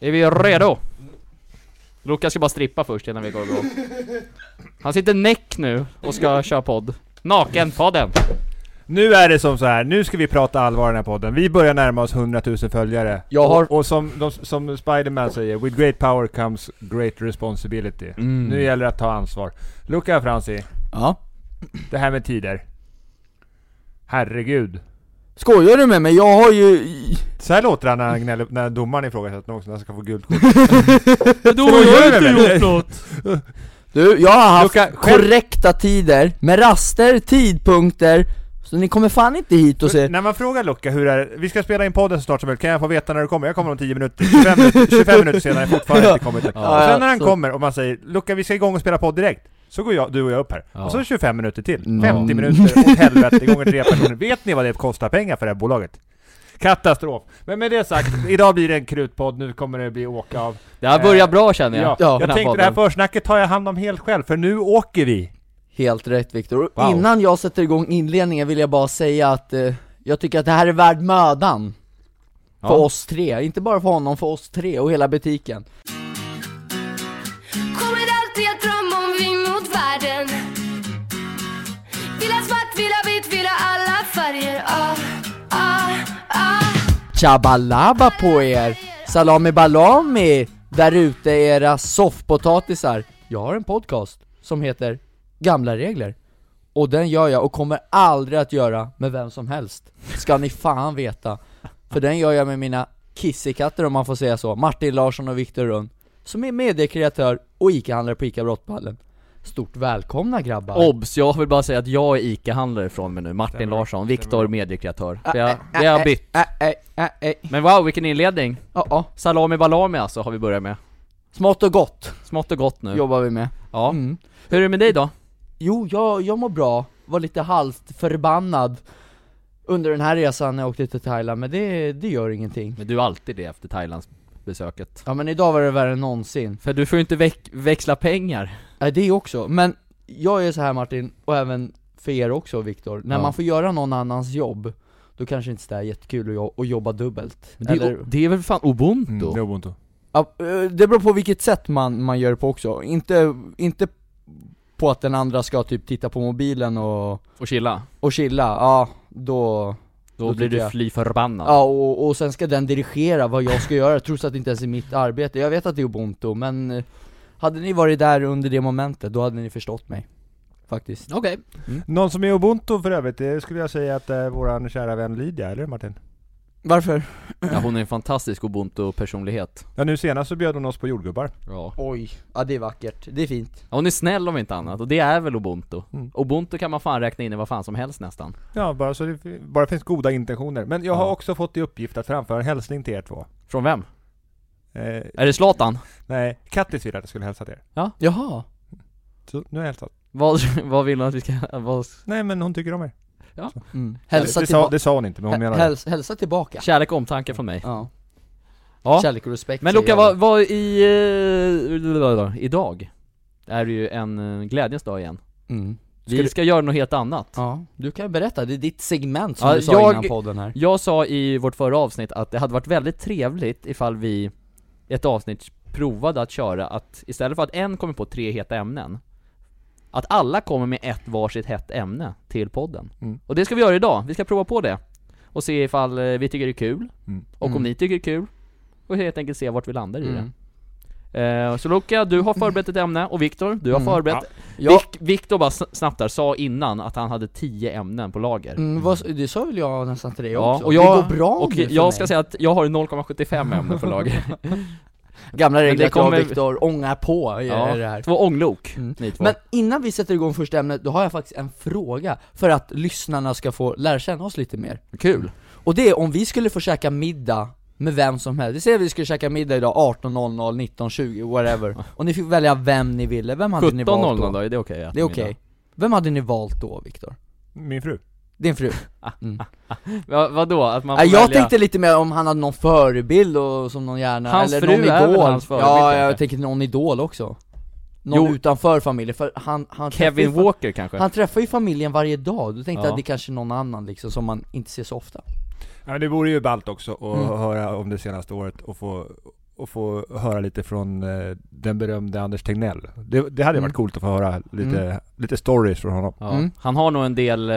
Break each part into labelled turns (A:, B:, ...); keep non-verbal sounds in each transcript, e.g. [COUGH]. A: Är vi redo? Lukas ska bara strippa först innan vi går igång. Han sitter näck nu och ska köra podd. Nakenpodden!
B: Nu är det som så här. nu ska vi prata allvar i den här podden. Vi börjar närma oss 100 000 följare.
C: Jag har-
B: Och, och som, de, som Spiderman säger, with great power comes great responsibility.
A: Mm.
B: Nu gäller det att ta ansvar. Luca Franzi,
C: Ja.
B: det här med tider. Herregud.
C: Skojar du med mig? Jag har ju...
B: Så här låter han när, han gnäller, när domaren ifrågasätter någon som ska
D: [LAUGHS]
B: få guldkort.
D: Då har
B: gör
D: jag
B: vi
D: inte
B: väl?
D: gjort något!
C: Du, jag har haft
B: Luca, själv-
C: korrekta tider med raster, tidpunkter. Så ni kommer fan inte hit och säger
B: När man frågar Luca hur är vi ska spela in podden så snart som möjligt, kan jag få veta när du kommer? Jag kommer om 10 minuter, 25
C: [LAUGHS]
B: minuter, 25 minuter senare, jag har fortfarande inte kommit.
C: Ja,
B: och sen när
C: ja,
B: han
C: så-
B: kommer och man säger Luca vi ska igång och spela podd direkt, så går jag, du och jag upp här.
A: Ja.
B: Och så 25 minuter till, 50
C: Mm.
B: minuter, åt helvete, gånger tre personer. Vet ni vad det kostar pengar för det här bolaget? Katastrof! Men med det sagt, idag blir det en krutpodd, nu kommer det bli åka av.
A: Det här börjar bra känner jag.
B: Ja,
C: Ja.
B: jag
A: Den här
B: tänkte det här försnacket tar jag hand om helt själv, för nu åker vi!
C: Helt rätt Viktor, och
B: Wow.
C: innan jag sätter igång inledningen vill jag bara säga att eh, jag tycker att det här är värd mödan För
B: Ja.
C: oss tre, inte bara för honom, för oss tre och hela butiken
E: Kommer alltid att drömma om vi mot världen Vill ha svart, vill ha vitt, vill ha alla färger ah, ah, ah.
C: Chabalaba på er! Salami balami! Där ute era soffpotatisar Jag har en podcast som heter Gamla regler Och den gör jag och kommer aldrig att göra med vem som helst Ska ni fan veta För den gör jag med mina kissekatter om man får säga så Martin Larsson och Viktor Rund Som är mediekreatör och ICA-handlare på ICA Brottballen Stort välkomna grabbar!
A: Obs, jag vill bara säga att jag är ICA-handlare från mig nu, Martin
B: Stämmer.
A: Larsson,
B: Stämmer.
A: Viktor mediekreatör. Det har det har jag bytt.
C: Äh, äh, äh, äh.
A: Men wow, vilken inledning!
C: Ja, ja.
A: Salami balami alltså, har vi börjat med.
C: Smått och gott
A: Smått och gott nu.
C: jobbar vi med
A: Ja.
C: mm.
A: Hur är det med dig då?
C: Jo, jag, jag mår bra, var lite halvt förbannad under den här resan när jag åkte till Thailand, men det, det gör ingenting
A: Men du är alltid det efter Thailandsbesöket.
C: Ja men idag var det värre än någonsin,
A: För du får ju inte väck- växla pengar.
C: äh, det också, men jag är så här Martin, och även för er också Viktor, när
A: Ja.
C: man får göra någon annans jobb då kanske inte det är jättekul att jo- att jobba dubbelt
A: Men det, är,
C: Eller,
A: o- det är väl fan ubuntu?
B: är ubuntu.
C: ja, eh, det beror på vilket sätt man, man gör det på också, inte, inte på att den andra ska typ titta på mobilen och,
A: Och chilla.
C: och chilla, ja då
A: Då,
C: Då
A: blir
C: tycker
A: du
C: jag-
A: fly förbannad.
C: Ja, och, och sen ska den dirigera vad jag ska göra, trots att det inte ens är mitt arbete. Jag vet att det är ubuntu, men eh, hade ni varit där under det momentet, då hade ni förstått mig. Faktiskt.
A: Okej.
B: Någon som är ubuntu för övrigt, det skulle jag säga att eh, våran kära vän Lydia, eller Martin?
C: Varför?
A: Ja, hon är en fantastisk ubuntu-personlighet.
B: Ja nu senast så bjöd hon oss på jordgubbar.
A: Ja.
C: Oj, ja det är vackert. Det är fint.
A: Hon är snäll om inte annat, och det är väl ubuntu.
B: Mm.
A: Ubuntu kan man fan räkna in i vad fan som helst nästan.
B: Ja, bara så det bara finns goda intentioner. Men jag har
A: Ja.
B: också fått i uppgift att framföra en hälsning till er två.
A: Från vem?
B: Eh,
A: Är det Zlatan?
B: nej, Kattis ville att jag skulle hälsa till er.
C: Jaha.
B: Så nu har jag hälsat.
A: Vad, [LAUGHS] vad vill hon att vi ska... Vad,
B: Nej men hon tycker om er.
C: Mm.
B: det,
C: Hälsa,
B: det, sa,
C: tillba-
B: det sa hon inte, men hon menade det.
C: häls- hälsa tillbaka.
A: kärlek och omtanke från mig.
C: Ja.
A: Ja.
C: Kärlek och respekt.
A: Men
C: säger
A: Luca,
C: jag.
A: vad, vad i... Eh, idag är det ju en eh, glädjens dag igen.
C: Mm.
A: Vi
C: Ska du-
A: ska göra något helt annat.
C: Ja, du kan berätta. Det är ditt segment som
A: Ja,
C: du sa
A: jag-
C: innan podden här.
A: Jag sa i vårt förra avsnitt att det hade varit väldigt trevligt ifall vi i ett avsnitt provade att köra att istället för att en kommer på tre heta ämnen Att alla kommer med ett varsitt hett ämne till podden.
B: Mm.
A: Och det ska vi göra idag, vi ska prova på det och se ifall eh, vi tycker det är kul
B: Mm.
A: och om
C: Mm.
A: ni tycker det är kul och helt enkelt se vart vi landar i
C: Mm.
A: det. Eh, Så Luca, du har förberett ett ämne och Viktor, du har
C: Mm.
A: förberett
C: Ja,
A: Vik- Viktor bara sn- snabbt där, sa innan att han hade 10 ämnen på lager
C: mm, vad, det sa väl jag nästan till dig
A: Ja,
C: också?
A: och jag-
C: det går bra
A: Och
C: nu för
A: jag
C: mig.
A: ska säga att jag har 0,75 ämnen
C: [LAUGHS]
A: för lager
C: Gamla
A: det
C: regler att jag och
A: kommer-
C: Viktor ångar på i
A: Ja.
C: i det här.
A: Två ånglok,
C: Mm.
A: ni två
C: Men innan vi sätter igång första ämnet, då har jag faktiskt en fråga för att lyssnarna ska få lära känna oss lite mer.
A: Kul!
C: Och det är om vi skulle få käka middag med vem som helst, vi säger att vi skulle käka middag idag 18.00, 19.20,
A: [LAUGHS]
C: whatever Och ni fick välja vem ni ville, vem hade ni valt
A: 17.00
C: då?
A: då, är det okej? att
C: Det är
A: äta
C: okej
A: middag?
C: Vem hade ni valt då Viktor?
B: Min fru.
C: Din fru?
A: Va, vadå? Att man får
C: Nej, jag
A: välja...
C: tänkte lite mer om han hade någon förebild och som någon gärna,
A: Hans
C: eller
A: fru
C: någon
A: är väl
C: idol
A: hans förebild,
C: Ja,
A: kanske?
C: jag tänker någon idol också Någon
A: Jo.
C: utanför familjen, för han, han träffar ju
A: Kevin
C: fa-
A: Walker kanske?
C: Han träffar ju familjen varje dag, då tänkte jag
A: Ja.
C: att det kanske är någon annan liksom som man inte ser så ofta
B: Ja, men det vore ju ballt också att
C: Mm.
B: höra om det senaste året och få och få höra lite från eh, den berömde Anders Tegnell. Det, det hade
C: Mm.
B: varit coolt att få höra lite,
C: Mm.
B: lite stories från honom.
A: Ja.
C: Mm.
A: Han har nog en del, eh,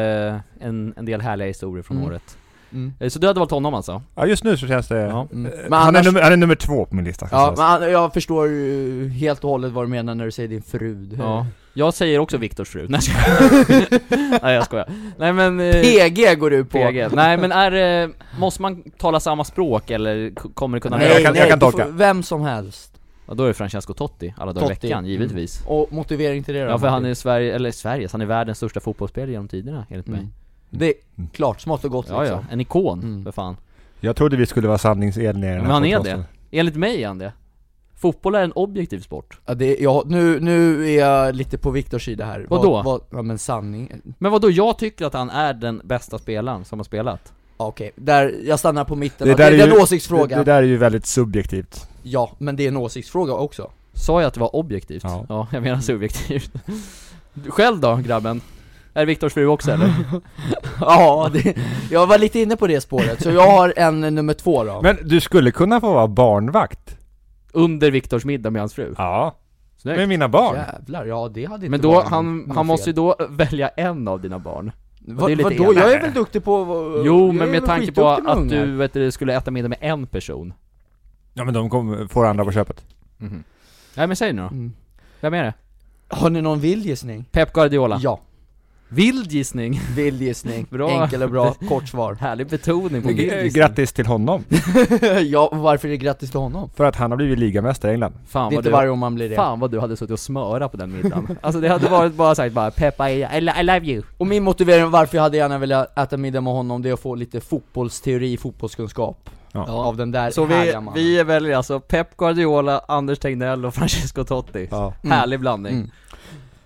A: en, en del härliga historier från
C: Mm.
A: året. Eh, Så du hade valt honom alltså?
B: Ja, just nu så känns det...
A: Ja.
C: Mm.
B: eh,
C: Men
B: han,
C: annars-
B: är nummer, han är nummer två på min lista. ska
C: Ja,
B: sägas.
C: men an- jag förstår ju helt och hållet vad du menar när du säger din frud.
A: Ja. Jag säger också Viktors fru, nej jag
C: [LAUGHS]
A: skojar. Nej jag skojar. Nej men... eh,
C: PG går du på!
A: PG. Nej men är det- måste man tala samma språk eller k- kommer det kunna...
B: Nej, jag kan- jag kan
C: du
B: tolka.
C: får- Vem som helst.
A: Ja, då är det Francesco Totti, alla dagar i
C: Totti.
A: veckan, givetvis.
C: Och motivering till det då?
A: Ja för han är Sverige, eller Sveriges, han är världens största fotbollsspelare genom tiderna enligt mig.
C: Mm. Det är klart, smått och gott
A: Ja ja,
C: liksom.
A: en ikon,
C: Mm.
A: för fan.
B: Jag trodde vi skulle vara sanningsenliga i den
A: Men han är
B: podcasten.
A: det. Enligt mig är han det. Fotboll är en objektiv sport.
C: Ja, det, ja, nu, nu är jag lite på Viktors sida här.
A: Vadå?
C: Vad, vad, ja men sanning.
A: Men vadå, jag tycker att han är den bästa spelaren som har spelat.
C: Ja, Okej, där, jag stannar på mitten.
B: Det
C: Det, det,
B: där är
C: är en
B: ju-
C: åsiktsfråga.
B: Det, det där är ju väldigt subjektivt.
C: Ja, men det är en åsiktsfråga också.
A: Sa jag att det var objektivt?
B: Ja.
A: Ja, jag menar subjektivt. [LAUGHS] Du- Själv då grabben? Är det Viktors fru också
C: [LAUGHS]
A: eller?
C: Ja, det, jag var lite inne på det spåret, så jag har en nummer två då.
B: Men du skulle kunna få vara barnvakt.
A: Under Viktors middag med hans fru.
B: Ja.
A: Snyggt.
B: Med mina barn.
C: Jävlar, ja det hade inte
A: Men då,
C: varit
A: han,
C: något
A: han
C: fel.
A: måste ju då välja en av dina barn.
C: Va,
A: det är lite
C: vadå? Jag är
A: elakt.
C: väl duktig på...
A: Jo,
C: jag är
A: men med
C: väl
A: tanke på
C: skitduktig med
A: att
C: ungar.
A: du vet, du, skulle äta middag med en person.
B: Ja men de kommer, får andra på köpet.
A: Nej men säg nu då.
C: Mm.
A: Vem är det?
C: Har ni någon vild gissning?
A: Pep Guardiola?
C: Ja,
A: Vild gissning. [LAUGHS]
C: vild gissning.
A: Bra.
C: Enkel och
A: [LAUGHS]
C: bra, kort svar. [LAUGHS]
A: Härlig betoning på
B: Och,
A: vild
B: eh,
A: gissning.
B: Grattis till honom.
C: ja, varför är det grattis till honom?
B: För att han har blivit ligamästare i England.
A: Fan
C: det är
A: vad
C: inte
A: du,
C: varje gång man blir det.
A: fan vad du hade suttit och smörat på den middagen. [LAUGHS] alltså det hade varit bara sagt bara 'Peppa, I, I, lo- I love you'
C: Och min motivering varför jag hade gärna velat äta middag med honom, det är att få lite fotbollsteori, fotbollskunskap.
B: Ja.
C: Av den där
A: Så vi,
C: härliga mannen.
A: vi väljer alltså Pep Guardiola, Anders Tegnell och [LAUGHS] Francesco Totti.
B: Ja.
A: Härlig blandning.
C: Mm.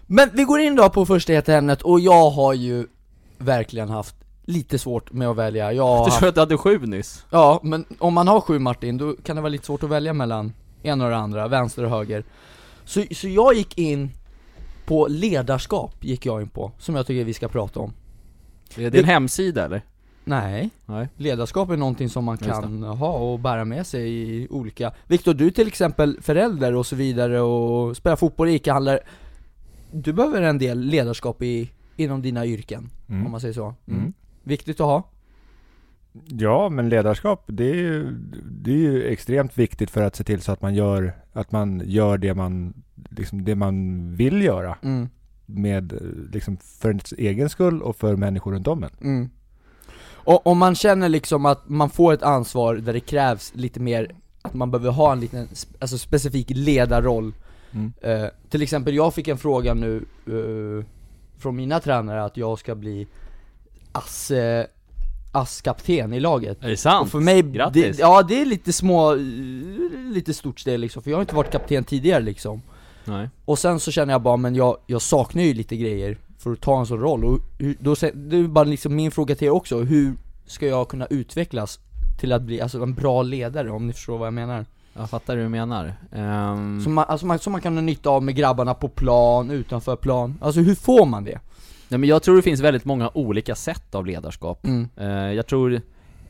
C: Men vi går in då på första heta ämnet, och jag har ju verkligen haft lite svårt med att välja. Jag har
A: Du
C: haft
A: sa att du hade sju nyss.
C: Ja, men om man har sju Martin, då kan det vara lite svårt att välja mellan en och det andra, vänster och höger. Så, så jag gick in på ledarskap, gick jag in på, som jag tycker vi ska prata om.
A: Det är
C: Det-
A: din hemsida eller?
C: Nej,
A: Nej.
C: ledarskap är någonting som man
A: Just
C: kan ha och bära med sig i olika... Viktor, du är till exempel förälder och så vidare och spelar fotboll, ICA-handlare. Du behöver en del ledarskap i, inom dina yrken, om
B: Mm.
C: man säger så.
B: Mm.
C: Viktigt att ha.
B: Ja men ledarskap det är, ju, det är ju extremt viktigt för att se till så att man gör, att man gör det man, liksom det man vill göra.
C: Mm.
B: Med, eh, liksom för ens egen skull och för människor runt om en.
C: Mm. Och om man känner liksom att man får ett ansvar där det krävs lite mer, att man behöver ha en liten, sp- alltså specifik ledarroll.
B: Mm.
C: Eh, till exempel, jag fick en fråga nu eh, från mina tränare att jag ska bli ass, eh, asskapten i laget.
A: Är det sant?
C: Och för mig,
A: Grattis!
C: det, ja det är lite små, eh, lite stort steg liksom, för jag har inte varit kapten tidigare liksom.
A: Nej.
C: Och sen så känner jag bara, men jag, jag saknar ju lite grejer för att ta en sån roll och hur, då, sä- det är bara liksom min fråga till er också, hur ska jag kunna utvecklas till att bli alltså, en bra ledare om ni förstår vad jag menar?
A: Jag fattar hur du menar. Ehm,
C: Som, man, alltså, man, som man kan ha nytta av med grabbarna på plan, utanför plan, alltså hur får man det?
A: nej, men jag tror det finns väldigt många olika sätt av ledarskap.
C: Mm.
A: Eh, jag tror,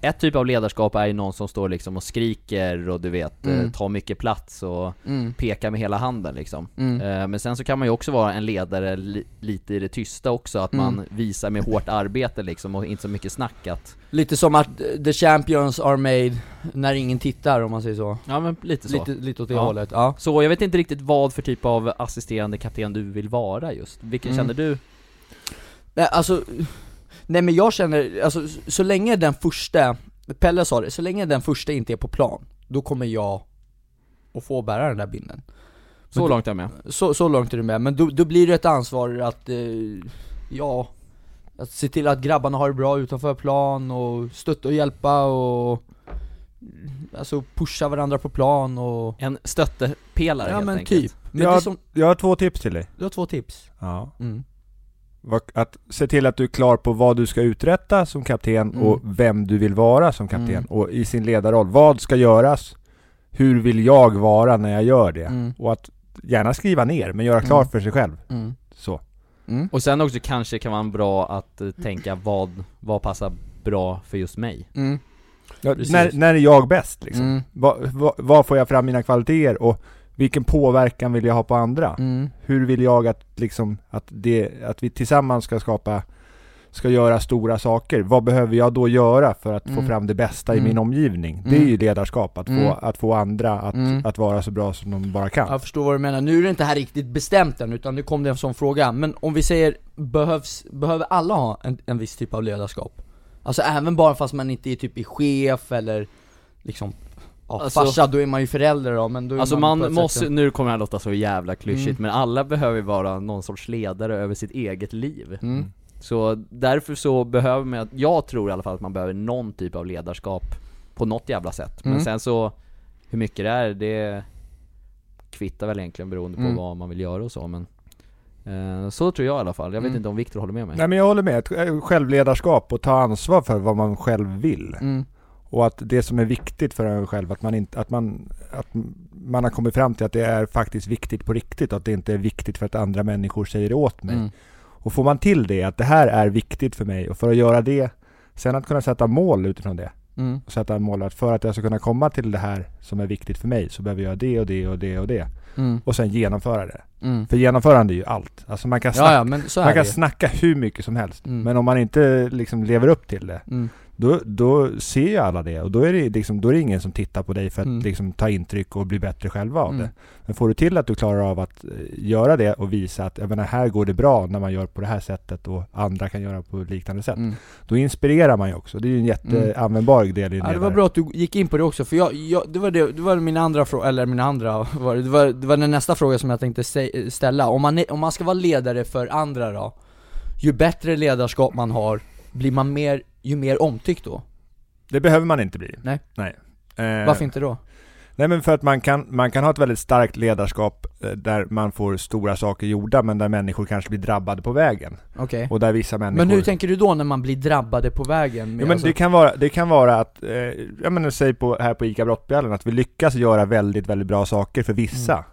A: ett typ av ledarskap är ju någon som står liksom och skriker och du vet, eh,
C: Mm.
A: tar mycket plats och
C: Mm.
A: pekar med hela handen liksom.
C: Mm.
A: Eh, Men sen så kan man ju också vara en ledare li- lite i det tysta också, att man
C: Mm.
A: visar med hårt arbete liksom och inte så mycket snack att
C: Lite som att eh, the champions are made när ingen tittar om man säger så.
A: Ja men lite så
C: Lite, lite åt det
A: Ja.
C: hållet, ja.
A: Så jag vet inte riktigt vad för typ av assisterande kapten du vill vara just, vilken
C: Mm.
A: känner du?
C: Nej alltså, nej men jag känner, alltså så, så länge den första, Pelle sa det, så länge den första inte är på plan, då kommer jag att få bära den där binden.
A: Så
C: Men-
A: långt är jag med
C: Så, så långt är du med, men då, då blir det ett ansvar att, eh, ja, att se till att grabbarna har det bra utanför plan och stötta och hjälpa och Alltså pusha varandra på plan och...
A: En stöttepelare
C: Ja
A: helt
C: men
A: enkelt.
C: typ, men det är
B: Ja.
C: som,
B: Jag har två tips till dig.
C: du har två tips.
B: Ja.
C: Mm.
B: Vad- Att se till att du är klar på vad du ska uträtta som kapten
C: Mm.
B: och vem du vill vara som kapten
C: Mm.
B: och i sin ledarroll. Vad ska göras? Hur vill jag vara när jag gör det?
C: Mm.
B: Och att gärna skriva ner, men göra klart
C: Mm.
B: för sig själv.
C: Mm.
B: Så.
C: Mm.
A: Och sen också kanske kan vara bra att eh, tänka vad, vad passar bra för just mig?
C: Mm.
B: Ja,
A: Precis.
B: när, när är jag bäst liksom?
C: Mm.
B: Vad vad- vad får jag fram mina kvaliteter och vilken påverkan vill jag ha på andra?
C: Mm.
B: Hur vill jag att, liksom, att, det, att vi tillsammans ska skapa, ska göra stora saker? Vad behöver jag då göra för att
C: Mm.
B: få fram det bästa
C: Mm.
B: i min omgivning? Det
C: Mm.
B: är ju ledarskap, att få,
C: Mm.
B: att få andra att,
C: Mm.
B: att vara så bra som de bara kan.
C: Jag förstår vad du menar, nu är det inte här riktigt bestämt än utan nu kom det en sån fråga Men om vi säger, behövs, behöver alla ha en, en viss typ av ledarskap? Alltså även bara fast man inte är typ i chef eller liksom Ja,
A: Alltså-
C: farsa, då är man ju förälder då men då är
A: Alltså
C: man, på
A: man
C: ett
A: måste,
C: sätt-
A: nu kommer det här låta så jävla klyschigt,
C: Mm.
A: men alla behöver vara någon sorts ledare över sitt eget liv
C: mm.
A: Så därför så behöver man, jag tror i alla fall att man behöver någon typ av ledarskap på något jävla sätt. Men
C: Mm.
A: sen så, hur mycket det är, det kvittar väl egentligen beroende på
C: Mm.
A: vad man vill göra och så men eh, Så tror jag i alla fall, jag vet
C: Mm.
A: inte om Viktor håller med mig.
B: Nej men jag håller med, Ett eh, självledarskap och ta ansvar för vad man själv vill.
C: Mm.
B: Och att det som är viktigt för en själv, att man, inte, att, man, att man har kommit fram till att det är faktiskt viktigt på riktigt och att det inte är viktigt för att andra människor säger åt mig.
C: Mm.
B: Och får man till det, att det här är viktigt för mig och för att göra det, sen att kunna sätta mål utifrån det.
C: Mm.
B: Och sätta mål att för att jag ska kunna komma till det här som är viktigt för mig så behöver jag det och det och det och det.
C: Mm.
B: Och sen genomföra det.
C: Mm.
B: För genomförande är ju allt. Alltså man kan snacka,
C: Ja, ja men så
B: man
C: är
B: kan
C: det
B: snacka hur mycket som helst.
C: Mm.
B: Men om man inte liksom lever upp till det,
C: ju. mm.
B: då, då ser ju alla det och då är det, liksom, då är det ingen som tittar på dig för att
C: Mm.
B: liksom, ta intryck och bli bättre själva av
C: Mm.
B: det. Men får du till att du klarar av att eh, göra det och visa att jag menar, här går det bra när man gör på det här sättet och andra kan göra på liknande sätt.
C: Mm.
B: Då inspirerar man ju också. Det är ju en jätteanvändbar del i en
C: Ja, det var
B: ledare.
C: bra att du gick in på det också, för jag, jag det, var det, det var min andra fråga, eller min andra, var det, det, var, det var den nästa fråga som jag tänkte sä- ställa. Om man, är, om man ska vara ledare för andra då, ju bättre ledarskap man har, blir man mer, ju mer omtyckt då?
B: Det behöver man inte bli.
C: Nej.
B: Nej. Eh,
C: Varför inte då?
B: Nej men för att man kan, man kan ha ett väldigt starkt ledarskap eh, där man får stora saker gjorda men där människor kanske blir drabbade på vägen.
C: Okej.
B: Och där vissa människor...
C: Men hur tänker du då när man blir drabbade på vägen? med-
B: Ja, men
C: alltså-
B: det, kan vara, det kan vara att, eh, jag menar, säg på, här på ICA Brottbjällen, att vi lyckas göra väldigt, väldigt bra saker för vissa.
C: Mm.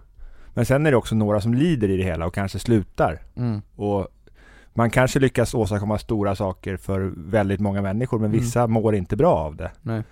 B: Men sen är det också några som lider i det hela och kanske slutar.
C: mm.
B: Och man kanske lyckas åstadkomma stora saker för väldigt många människor, men
C: Mm.
B: vissa mår inte bra av det.
C: Nej.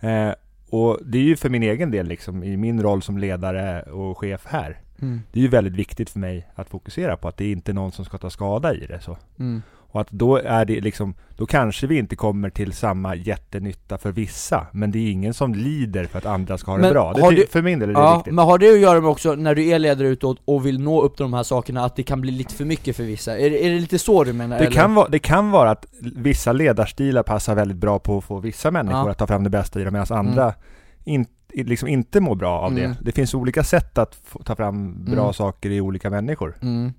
B: Eh, och det är ju för min egen del, liksom, i min roll som ledare och chef här,
C: Mm.
B: det är ju väldigt viktigt för mig att fokusera på att det är inte någon som ska ta skada i det. Så.
C: Mm.
B: Och att då är det liksom, då kanske vi inte kommer till samma jättenytta för vissa, men det är ingen som lider för att andra ska ha det
C: Men
B: bra. Det
C: har
B: ty-
C: du-
B: för min del är det
C: Ja,
B: viktigt.
C: men har det att göra med också när du är ledare utåt och vill nå upp till de här sakerna, att det kan bli lite för mycket för vissa? Är, det- är det lite så du menar?
B: Det
C: eller?
B: kan, vara, det kan vara att vissa ledarstilar passar väldigt bra på att få vissa människor
C: Ja.
B: att ta fram det bästa i dem, medan andra in, i- liksom inte mår bra av
C: Mm.
B: det. Det finns olika sätt att få, ta fram bra
C: Mm.
B: saker i olika människor.
C: Mm.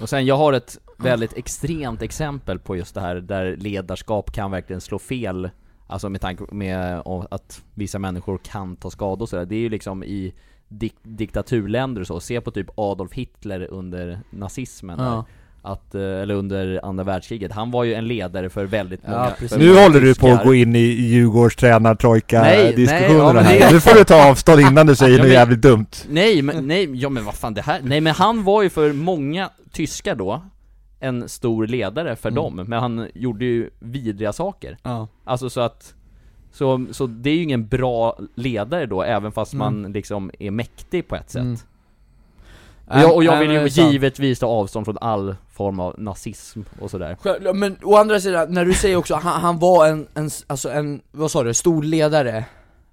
A: Och sen, jag har ett väldigt extremt exempel på just det här där ledarskap kan verkligen slå fel Alltså med tanke med om att vissa människor kan ta skada och sådär. Det är ju liksom i dik- diktaturländer och så. Se på typ Adolf Hitler under nazismen. där.
C: Ja.
A: att, eh, eller under andra världskriget, han var ju en ledare för väldigt
C: Ja,
A: många
C: precis.
A: för
B: Nu
A: många
B: håller du på att
A: tyskar.
B: gå in i Djurgårds
A: Nej, nej, ja,
B: tränartrojka-diskussionerna
A: men
B: här.
A: det-
B: Nu får du ta avstånd innan du säger
A: Ja,
B: något
A: men-
B: jävligt dumt.
A: Nej men, nej, ja men vad fan det här, nej men han var ju för många tyskar då en stor ledare för
C: Mm.
A: dem, men han gjorde ju vidriga saker.
C: Ja.
A: Alltså så att, så, så det är ju ingen bra ledare då, även fast
C: Mm.
A: man liksom är mäktig på ett sätt.
C: Mm.
A: Och jag, och jag
C: Nej,
A: vill
C: men
A: ju
C: det är sant.
A: givetvis ta avstånd från all form av nazism och sådär.
C: Själv- Men å andra sidan, när du säger också att han, han var en, en, s- alltså en, vad sa du, stor ledare?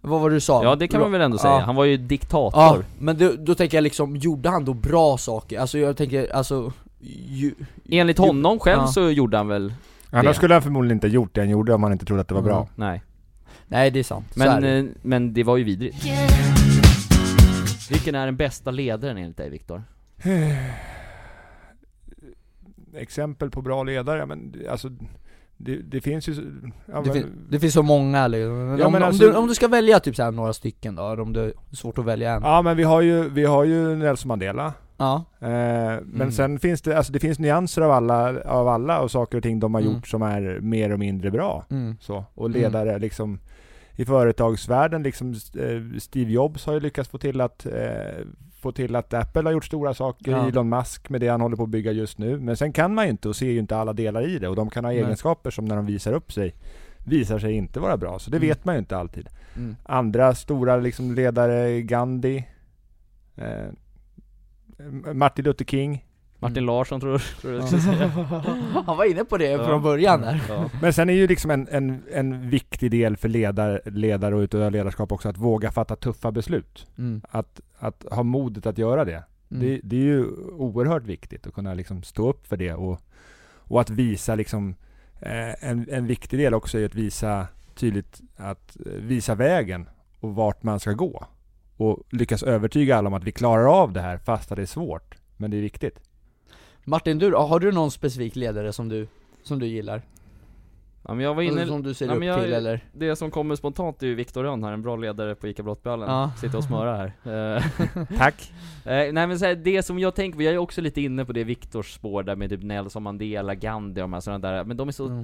C: Vad var det du sa?
A: Ja det kan man väl ändå
C: Ja.
A: säga, han var ju diktator.
C: Ja, men då, då tänker jag liksom, gjorde han då bra saker? Alltså jag tänker, alltså, ju,
A: Enligt honom själv
C: Ja.
A: så gjorde han väl,
B: Annars
A: Det.
B: skulle han förmodligen inte ha gjort det han gjorde om han inte trodde att det var
C: Mm.
B: bra.
A: nej.
C: nej det är sant, så är
A: Men,
C: det.
A: eh, men det var ju vidrigt. Vilken är den bästa ledaren enligt dig Viktor?
B: Exempel på bra ledare, men det- alltså det, det finns ju... så- Ja, men,
C: det, fin, det finns så många liksom. Men
B: Ja,
C: om,
B: men
C: om,
B: alltså-
C: du, om du ska välja typ så här några stycken då, eller om det är svårt att välja en Ja,
B: ja, men vi har ju, vi har ju Nelson Mandela.
C: ja.
B: Eh, men
A: Mm.
B: sen finns det, alltså det finns nyanser av alla, av alla och saker och ting de har
C: Mm.
B: gjort som är mer och mindre bra.
C: Mm.
B: Så. Och ledare liksom i företagsvärlden, liksom eh, Steve Jobs har ju lyckats få till att eh, få till att Apple har gjort stora saker,
C: Ja.
B: Elon Musk med det han håller på att bygga just nu. Men sen kan man ju inte och ser ju inte alla delar i det och de kan ha
C: Nej.
B: egenskaper som när de visar upp sig visar sig inte vara bra. Så det
C: Mm.
B: vet man ju inte alltid.
C: Mm.
B: Andra stora liksom, ledare, Gandhi, eh, Martin Luther King.
A: Martin
C: Mm.
A: Larsson tror tror jag du skulle säga.
C: [LAUGHS] Han var inne på det
A: Ja.
C: från början där. Mm.
A: Ja.
B: Men sen är ju liksom en, en, en viktig del för ledare, ledare och utöva ledarskap också att våga fatta tuffa beslut.
C: Mm.
B: Att, att ha modet att göra det.
C: Mm.
B: Det, det är ju oerhört viktigt att kunna liksom stå upp för det och, och att visa liksom, eh, en, en viktig del också är att visa tydligt att eh, visa vägen och vart man ska gå. Och lyckas övertyga alla om att vi klarar av det här fast att det är svårt. Men det är viktigt.
C: Martin, du, har du någon specifik ledare som du, som du gillar?
A: ja men jag var
C: Eller
A: inne,
C: Alltså, som du ser
A: ja,
C: upp
A: men jag-
C: till eller?
A: det som kommer spontant är ju Viktor Rönn här, en bra ledare på ICA Brottballen,
C: Ja.
A: sitter och smörar
C: [LAUGHS]
A: här Eh, [LAUGHS]
B: Tack!
A: eh, Nej men så här, det som jag tänker på, jag är också lite inne på det Viktors spår där med typ Nelson Mandela, Gandhi och de här sådana där, men de är så,
C: Mm.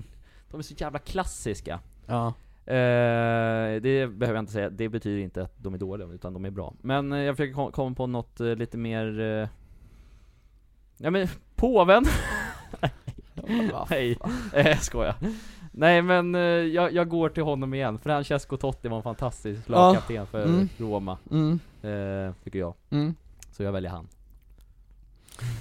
A: de är så jävla klassiska
C: Ja.
A: Eh, det behöver jag inte säga, det betyder inte att de är dåliga, utan de är bra. Men eh, jag försöker kom- komma på något eh, lite mer... Eh... Ja men, [LAUGHS] påven!
C: [LAUGHS]
A: Nej, eh, skojar. Nej men, eh, jag, jag går till honom igen. Francesco Totti var en fantastisk
C: Ja.
A: lagkapten för
C: Mm.
A: Roma,
C: Mm.
A: eh, tycker jag.
C: Mm.
A: Så jag väljer han.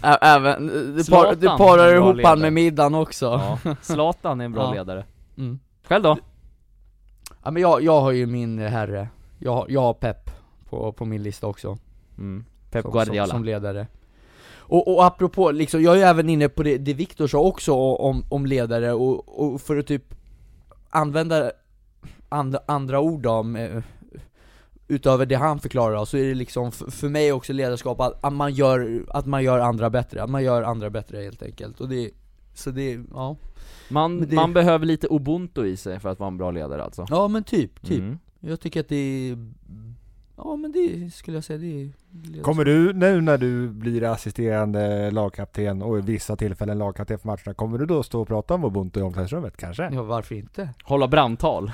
C: Ä- Även, du, par,
A: Zlatan,
C: du parar
A: bra
C: ihop
A: ledare.
C: han med middagen också.
A: Ja. Zlatan är en bra
C: Ja.
A: ledare.
C: Mm.
A: Själv då?
C: Ja men jag, jag har ju min herre, jag, har- jag har Pep på, på min lista också
A: Mm. Pep
C: som,
A: Guardiola.
C: Som, som ledare och, och apropå, liksom, jag är ju även inne på det, det Viktor sa också o- om, om ledare och, och för att typ använda and, andra ord om eh, utöver det han förklarar då, så är det liksom f- för mig också ledarskap att, att, man gör, att man gör andra bättre, att man gör andra bättre helt enkelt och det, så det, ja
A: man,
C: Men det-
A: man behöver lite ubuntu i sig för att vara en bra ledare alltså.
C: Ja men typ, typ
A: Mm.
C: Jag tycker att det är... Ja men det skulle jag säga, det är...
B: Kommer du nu när du blir assisterande lagkapten och i vissa tillfällen lagkapten för matcherna, kommer du då stå och prata om Ubuntu i omklädningsrummet kanske?
C: Ja varför inte?
A: Hålla
C: [LAUGHS]
A: brandtal.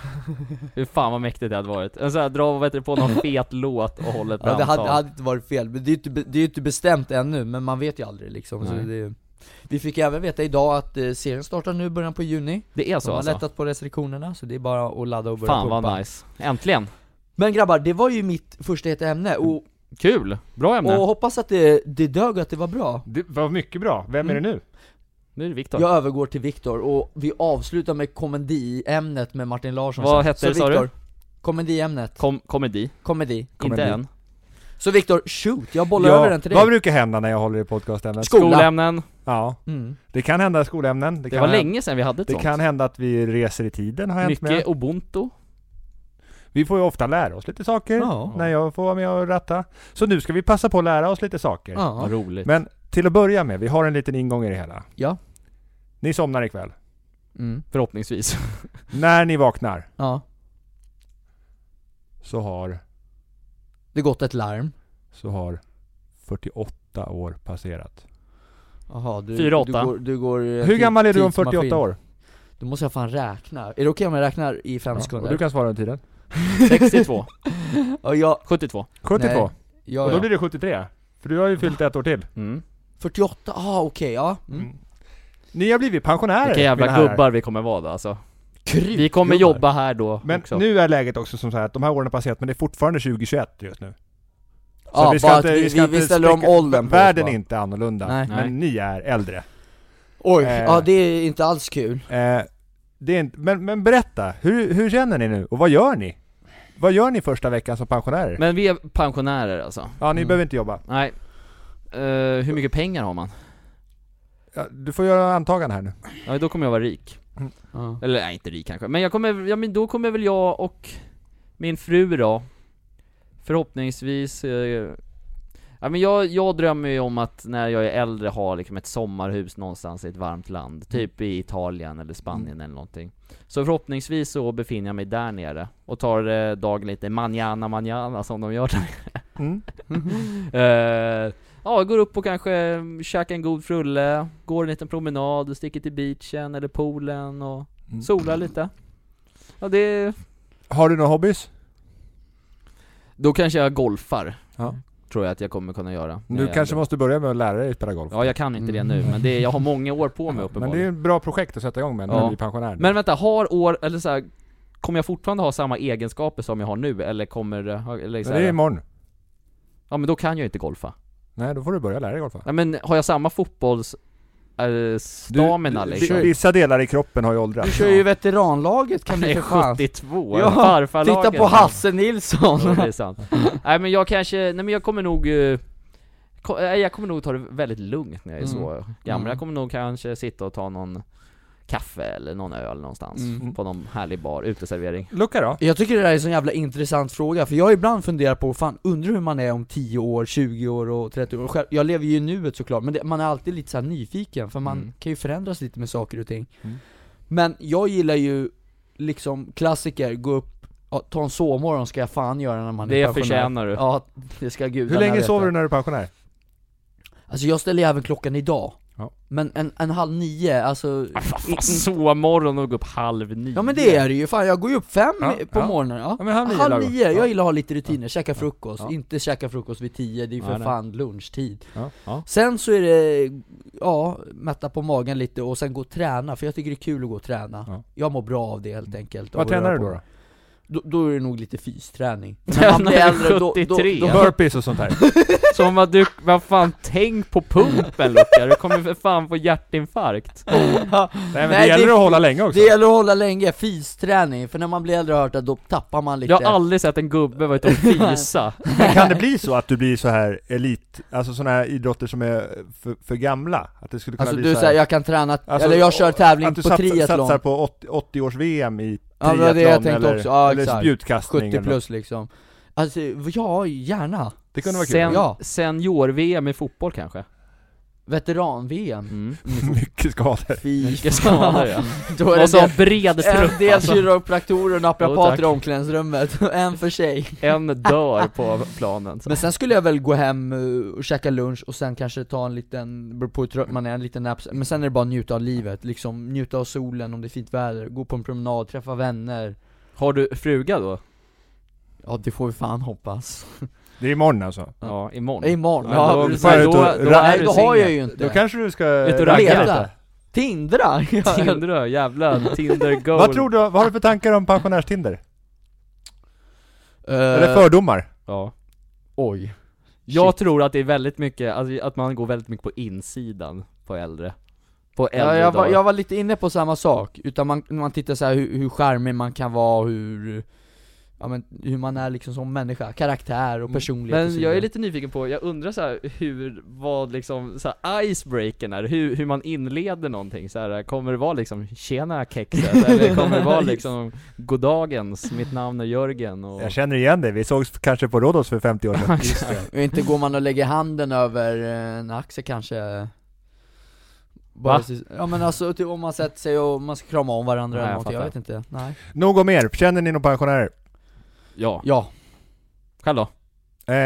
A: Hur fan vad mäktigt det hade varit. En sån här, dra vad heter det, på
C: [LAUGHS]
A: någon fet låt och hålla ett
C: Ja,
A: brandtal.
C: det hade, hade inte varit fel, men det är ju inte, be- det är ju inte bestämt ännu, men man vet ju aldrig liksom så
A: Nej.
C: det, Vi fick även veta idag att eh, serien startar nu i början på juni
A: Det är
C: De
A: så
C: har
A: alltså.
C: lättat på restriktionerna, så det är bara att ladda och börja
A: Fan
C: pumpa
A: vad nice. Äntligen.
C: Men grabbar, det var ju mitt första heta ämne, och,
A: Kul. Bra Mm, ämne.
C: och hoppas att det, det dög och att det var bra
B: Det var mycket bra. Vem
C: Mm.
B: är det nu?
A: Nu är det Viktor.
C: Jag övergår till Viktor, och vi avslutar med komediämnet med Martin Larsson
A: Vad
C: sen.
A: hette det,
C: Så
A: sa du?
C: Viktor, komediämnet,
A: Kom, komedi.
C: komedi
B: Komedi.
A: Inte än.
C: Så Viktor, shoot, jag bollar över den till dig
B: Vad brukar hända när jag håller i podcastämnet?
C: Skola.
A: Skolämnen.
B: Ja,
C: mm.
B: det kan hända skolämnen.
A: Det
B: kan
A: var
B: hända-
A: länge sedan vi hade ett
B: Det
A: sånt.
B: kan hända att vi reser i tiden har hänt
A: Mycket
B: med.
A: ubuntu.
B: Vi får ju ofta lära oss lite saker
C: Ja.
B: när jag får vara med och ratta. Så nu ska vi passa på att lära oss lite saker.
C: Ja,
A: Vad roligt.
B: Men till att börja med, vi har en liten ingång i det hela.
C: Ja.
B: Ni somnar ikväll.
C: mm.
A: Förhoppningsvis. [LAUGHS]
B: När ni vaknar
C: ja,
B: så har,
C: det gått ett larm
B: så har 48 år passerat.
C: Jaha, du,
A: Fyra,
C: du,
A: åtta.
C: går, du går eh,
B: Hur
C: tid-
B: gammal är du om
C: tidsmaskin.
B: 48 år?
C: Då måste jag fan räkna, är det okej om jag räknar i fem
B: Ja, och
C: sekunder?
B: du kan svara under tiden.
A: 62.
C: Ja, jag,
A: 72.
B: 72.
C: Nej.
B: Och
C: jag,
B: då blir det 73. För du har ju fyllt ett år till.
A: Mm.
C: 48, ah okej, ja mm.
B: Mm. Ni har blivit pensionärer,
A: Vilka
B: mina
A: jävla
B: herrar.
A: gubbar vi kommer vara då alltså.
C: Kryp,
A: Vi kommer jobba här då
B: Men
A: också.
B: nu är läget också som så här att de här åren har passerat men det är fortfarande 2021 just nu.
C: Ja,
B: vi
C: vi,
B: ska
C: bara
B: inte-
C: att vi,
B: vi ska
C: vi, vi
B: inte
C: ställer om
B: spräcka-
C: åldern på
B: Världen
C: oss
B: är
C: bara.
B: inte annorlunda,
C: Nej.
A: Nej.
B: men ni är äldre.
C: Oj,
B: Eh.
C: ja det är inte alls kul
B: Eh, det är inte, men, men berätta, hur, hur känner ni nu och vad gör ni? Vad gör ni första veckan som pensionärer?
A: Men vi är pensionärer alltså.
B: ja, ni
C: Mm.
B: behöver inte jobba.
A: Nej. Eh, hur mycket pengar har man?
B: Ja, du får göra antaganden här nu.
A: Ja, då kommer jag vara rik.
C: ja.
A: Eller nej, inte rik kanske. Men jag kommer, ja men då kommer väl jag och min fru då Förhoppningsvis eh, Ja men jag, jag drömmer ju om att när jag är äldre ha liksom ett sommarhus någonstans i ett varmt
B: Mm.
A: land Typ i Italien eller Spanien eller någonting Så förhoppningsvis så befinner jag mig där nere Och tar eh, dagen lite manjana manjana som de gör där
B: Mm.
A: Eh, Ja, går upp och kanske mm, käkar en god frulle Går en liten promenad och sticker till beachen eller poolen och
B: Mm.
A: Sola lite. Ja det...
B: Har du några hobbys?
A: Då kanske jag golfar.
B: Ja.
A: tror jag att jag kommer kunna göra när
B: Du
A: jag är
B: kanske
A: äldre.
B: måste börja med att lära dig spela golf.
A: Ja jag kan inte det nu, men det, är- jag har många år på mig
B: men det
A: uppenbarligen
B: är ett bra projekt att sätta igång med när
A: Ja.
B: du blir pensionär.
A: Men vänta, har år, eller så här, kommer jag fortfarande ha samma egenskaper som jag har nu, eller kommer det, ha- eller
B: Men
A: så
B: det är
A: här,
B: imorgon.
A: Ja men då kan jag inte golfa.
B: Nej, då får du börja lära dig golfa.
A: Nej men har jag samma fotbolls... Äh, stamina
B: Du-
A: liksom?
B: vi- Vissa delar i kroppen har ju åldrats.
C: Du kör ju veteranlaget kan
A: Han
C: du
A: är
C: för fan
A: 72,
C: Ja,
A: farfarlaget.
C: Titta på Hasse Nilsson!
A: Ja, det är sant. nej men jag kanske, nej men jag kommer nog eh, ko- eh, jag kommer nog ta det väldigt lugnt när jag är så gammal.
C: Mm.
A: Jag kommer nog kanske sitta och ta någon kaffe eller någon öl någonstans
C: Mm.
A: på någon härlig bar, uteservering.
B: Lucka då?
C: Jag tycker det där är en sån jävla intressant fråga, för jag har ibland funderat på, fan undrar hur man är om 10 år, 20 år och 30 år Själv, Jag lever ju i nuet såklart, men det, man är alltid lite så här nyfiken, för man
A: Mm.
C: kan ju förändras lite med saker och ting
B: Mm.
C: Men jag gillar ju liksom klassiker, gå upp, ja, ta en sovmorgon ska jag fan göra när man är
A: Det
C: pensionär.
A: förtjänar du.
C: Ja, det ska gudarna
B: Hur länge
C: veta.
B: sover du när du är pensionär?
C: Alltså jag ställer ju även klockan idag
B: Ja.
C: Men en, en halv nio, alltså
A: Ah, fan, fan, så morgon och gå upp halv nio.
C: Ja men det är det ju, fan jag går ju upp fem
B: Ja,
C: på
B: ja.
C: morgonen ja.
B: Ja, men halv nio
C: Halv
B: lagom.
C: nio,
B: Ja.
C: jag gillar att ha lite rutiner, käka frukost,
B: Ja.
C: inte käka frukost vid tio, det är ju
A: Nej,
C: för
A: nej.
C: fan lunchtid
B: Ja, ja.
C: Sen så är det, ja, mätta på magen lite och sen gå och träna, för jag tycker det är kul att gå och träna
B: Ja.
C: Jag mår bra av det helt enkelt
B: Vad
C: Och röra
B: tränar du
C: på
B: då?
C: mig.
B: då?
C: Då, då är det nog lite fysträning
A: Tränar
C: man blir
A: du
C: äldre, då- då-
A: 73?
C: då-
B: Burpees och sånt
C: [LAUGHS]
B: här.
A: Som att du, vad fan, tänk på pumpen Luca, du kommer för fan få hjärtinfarkt.
B: Nej men
C: Nej,
B: det gäller
C: det-
B: att hålla länge också.
C: Det gäller att hålla länge, fysträning, för när man blir äldre har jag hört att då tappar man lite
A: Jag har aldrig sett en gubbe vara ute och fisa.
B: Men kan det bli så att du blir så här elit, alltså sådana här idrotter som är för, för gamla? Att det skulle kunna
C: Alltså
B: bli
C: du
B: så här,
C: säger jag kan träna,
B: Alltså,
C: eller jag kör tävling
B: att
C: på
B: du sats,
C: triathlon
B: satsar på 80 80-års-VM i
C: Ja, det
B: triathlon
C: var det jag tänkte
B: eller,
C: också. Ja,
B: eller
C: exakt.
B: spjutkastning
C: 70 plus liksom Alltså, ja, gärna
B: Det kunde vara kul.
A: Sen,
C: Ja.
A: Senior-VM i fotboll kanske?
C: Veteran-VM
A: Mm.
B: [LAUGHS] Mycket skador.
C: [LAUGHS] Fy
A: Vilka
C: [LAUGHS]
A: skador ja.
C: Då är
A: Och så
C: det
A: en bred
C: en
A: trupp
C: del
A: alltså.
C: kiropraktorer och
A: Jo,
C: naprapater
A: tack.
C: i omklädningsrummet, [LAUGHS] och en för sig
A: En dör på planen så.
C: Men sen skulle jag väl gå hem eh, och käka lunch och sen kanske ta en liten, beror på hur trött man är, en liten nap Men sen är det bara att njuta av livet, liksom njuta av solen om det är fint väder, gå på en promenad, träffa vänner
A: Har du fruga då?
C: Ja det får vi fan hoppas
B: Det är imorgon alltså.
A: Ja, imorgon.
C: Imorgon,
A: Ja,
C: ja,
A: då,
C: precis.
A: då, då,
B: då-
C: Nej
A: är
C: då
A: du
C: har jag
A: singel.
C: ju inte
B: Då kanske du ska
A: Ut och
B: ragga
A: ragga.
B: lite.
C: Tindra!
A: [LAUGHS]
C: Ja,
A: Tindra, jävla Tinder goal.
B: Vad tror du, vad har du för tankar om pensionärstinder?
C: [LAUGHS] eh,
B: Eller fördomar?
A: Ja.
C: Oj
A: Jag tror att det är väldigt mycket, alltså, att man går väldigt mycket på insidan på äldre. På
C: Ja,
A: äldre
C: jag, var,
A: dagar.
C: jag var lite inne på samma sak, utan man, när man tittar så här hur, hur charmig man kan vara, och hur, ja, men, hur man är liksom som människa, karaktär och personlighet och
A: Men
C: så
A: jag är
C: vidare.
A: lite nyfiken på, jag undrar så här hur, vad liksom, så här icebreakern är, hur, hur man inleder någonting så här, kommer det vara liksom 'Tjena kexet' eller kommer det vara liksom 'Goddagens, mitt namn är Jörgen' och...
B: Jag känner igen dig, vi sågs kanske på Rhodos för 50 år
C: [LAUGHS]
B: sedan.
C: Och Inte går man och lägger handen över eh, en axel kanske
A: Va?
C: så- Ja men alltså typ, om man sätter sig och man ska krama om varandra
A: Nej,
C: eller
A: jag
C: någonting, jag,
A: fattar.
C: vet inte, nej
B: Nog om er, känner ni någon pensionärer?
A: Ja,
C: Ja,
A: själv då?
B: Eh,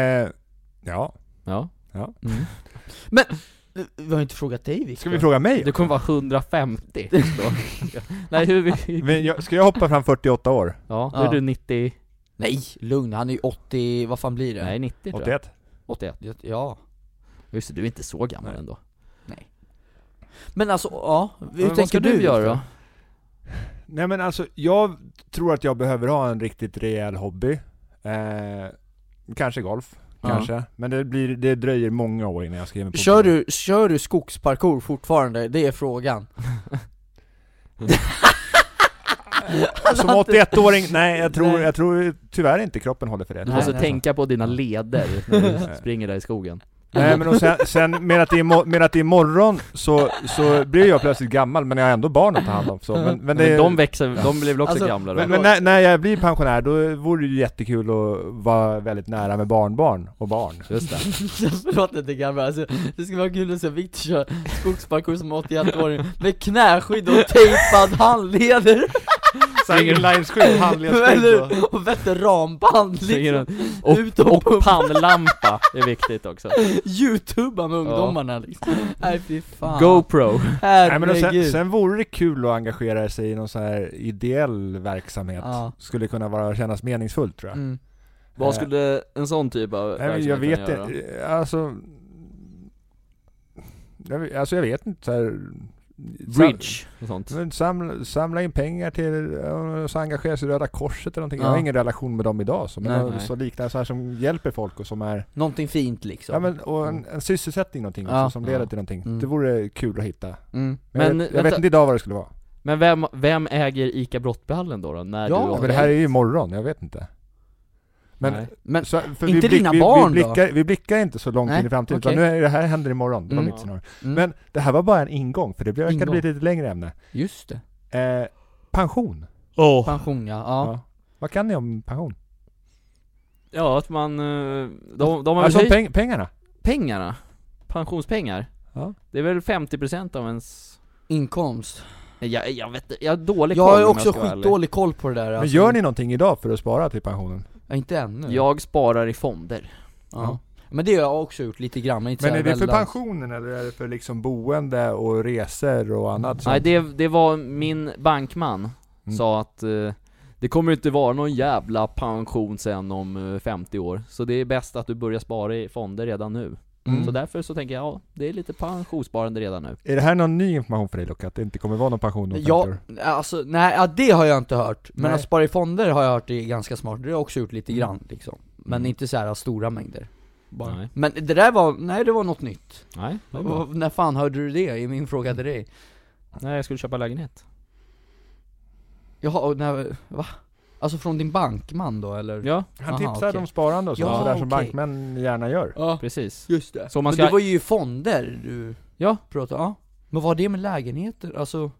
B: ja.
A: Ja.
C: vi har inte frågat dig Victor
B: Ska vi fråga mig?
A: Du kommer vara 150 då. Nej hur, vi-
B: Men jag, ska jag hoppa fram 48 år?
A: ja, då är
C: Ja.
A: du 90,
C: Nej, lugn, han är ju 80, vad fan blir det?
A: nej 90 tror jag.
B: 81?
A: 81.
C: Ja
A: Just det, du är inte så gammal ändå.
C: Men alltså, ja, hur
A: Men
C: tänker
A: vad ska du, göra då?
B: Nej men alltså, jag tror att jag behöver ha en riktigt rejäl hobby. Eh, kanske golf,
A: Ja. [LAUGHS]
B: kanske. Men det, blir, det dröjer många år innan jag skriver mig på.
C: Kör du, kör du skogsparkour fortfarande? Det är frågan
B: Som 81-åring, nej jag tror,
C: Nej.
B: jag tror tyvärr inte kroppen håller för det.
A: Du
C: Nej,
A: måste
C: nej,
A: tänka på dina leder när du springer där i skogen.
B: Nej men och sen, sen med, att det är, mo- med att det är morgon så, så blir jag plötsligt gammal men jag har ändå barn att ta hand om. Så. Men, men, det,
A: Men de växer, de blir väl också
C: Alltså,
A: gamla då?
B: men, men när, när jag blir pensionär då vore det ju jättekul att vara väldigt nära med barnbarn och barn.
A: Just det.
C: Förlåt inte grabbar, alltså, det skulle vara kul att se Viktor köra skogsparkour som 81-åring med knäskydd och tejpad handleder
B: Såhär
C: [LAUGHS]
B: inlineskydd,
C: eller, och veteranband
A: Springer
C: liksom
A: runt. Och,
C: Ut och
A: och
C: pumpa.
A: pannlampa är viktigt också.
C: [LAUGHS] Youtuba med ungdomarna liksom Nej fy fan
A: GoPro.
B: Nej, men och sen,
C: herregud
B: sen vore det kul att engagera sig i någon sån här ideell verksamhet.
C: Ja.
B: Skulle kunna vara, kännas meningsfullt tror jag.
C: mm.
A: Vad skulle en sån typ av
B: Nej, men
A: verksamhet
B: jag vet
A: kunna göra?
B: inte, alltså... Jag, vet- alltså jag vet inte så här,
A: Bridge och sånt.
B: Men samla, samla in pengar till, eh, så engagera sig i Röda Korset eller någonting. Jag har
C: Ja.
B: ingen relation med dem idag så, men
C: Nej,
B: de
A: nej.
B: så liknande så här som hjälper folk och som är,
C: Någonting fint liksom
B: ja men och en, en sysselsättning någonting
C: Ja.
B: också, som leder
A: Ja.
B: till någonting.
C: Mm.
B: Det vore kul att hitta.
C: mm.
B: Men,
A: Men,
B: jag, vet, jag
A: vänta.
B: vet inte idag vad det skulle vara.
A: Men vem, vem äger ICA Brottbehallen då, då när
C: Ja,
A: du
C: men
B: Ja,
A: åker
B: men det här är ju imorgon, jag vet inte. Men,
A: Nej.
C: Men
B: så, för
C: inte
B: blick-
C: dina
B: vi,
C: barn då?
B: vi blickar, då? Vi blickar inte så långt
C: Nej,
B: in i framtiden,
C: okej.
B: utan nu är det här händer imorgon. Det var
C: Mm.
B: mitt scenario.
C: Mm.
B: Men det här var bara en ingång, för det verkar
C: Ingång.
B: bli ett lite längre ämne.
C: just det,
B: Eh, pension.
C: pension ja, ja.
B: Ja. Vad kan ni om pension?
A: Ja, att man... eh, De, de har väl
B: Alltså om
A: höjt
B: peng, pengarna?
A: pengarna? Pensionspengar?
B: Ja.
A: Det är väl 50% av ens...
C: inkomst
A: Nej, Jag, jag vet jag har dålig
C: Jag
A: koll
C: har
A: om
C: ju också
A: ska vara ärlig.
C: skitdålig koll på det där alltså.
B: Men gör ni någonting idag för att spara till pensionen?
C: Ja, inte ännu
A: Jag sparar i fonder.
C: Ja. Men det har jag också gjort lite grann, men inte
B: Men
C: så
B: är
C: här
B: det för
C: väldigt-
B: pensionen eller är det för liksom boende och resor och annat?
A: Nej, det, det var min bankman
B: Mm.
A: sa att eh, det kommer inte vara någon jävla pension sen om eh, 50 år. Så det är bäst att du börjar spara i fonder redan nu.
C: Mm.
A: Så därför så tänker jag, ja, det är lite pensionssparande redan nu.
B: Är det här någon ny information för dig Luca? Att det inte kommer vara någon pension om 50
C: Ja,
B: år?
C: alltså nej, ja, det har jag inte hört. Men
B: Nej.
C: att spara i fonder har jag hört är ganska smart, det har jag också gjort lite grann liksom. Men inte så här stora mängder. Bara.
A: Nej.
C: Men det där var, nej det var något nytt.
A: Nej, det är bra.
C: Och, när fan hörde du det? I min fråga till dig.
A: Nej, jag skulle köpa lägenhet.
C: Jaha, och när, va? Alltså från din bankman då eller?
A: Ja,
B: Han
C: Aha,
B: tipsade
C: okej.
B: om sparande och sånt,
C: Ja,
B: sådär som
C: okej.
B: bankmän gärna gör.
C: ja
A: precis.
C: just det.
A: Så man
C: Men
A: ska-
C: det var ju i fonder du
A: Ja.
C: pratade ja. Men vad har det med lägenheter? Alltså,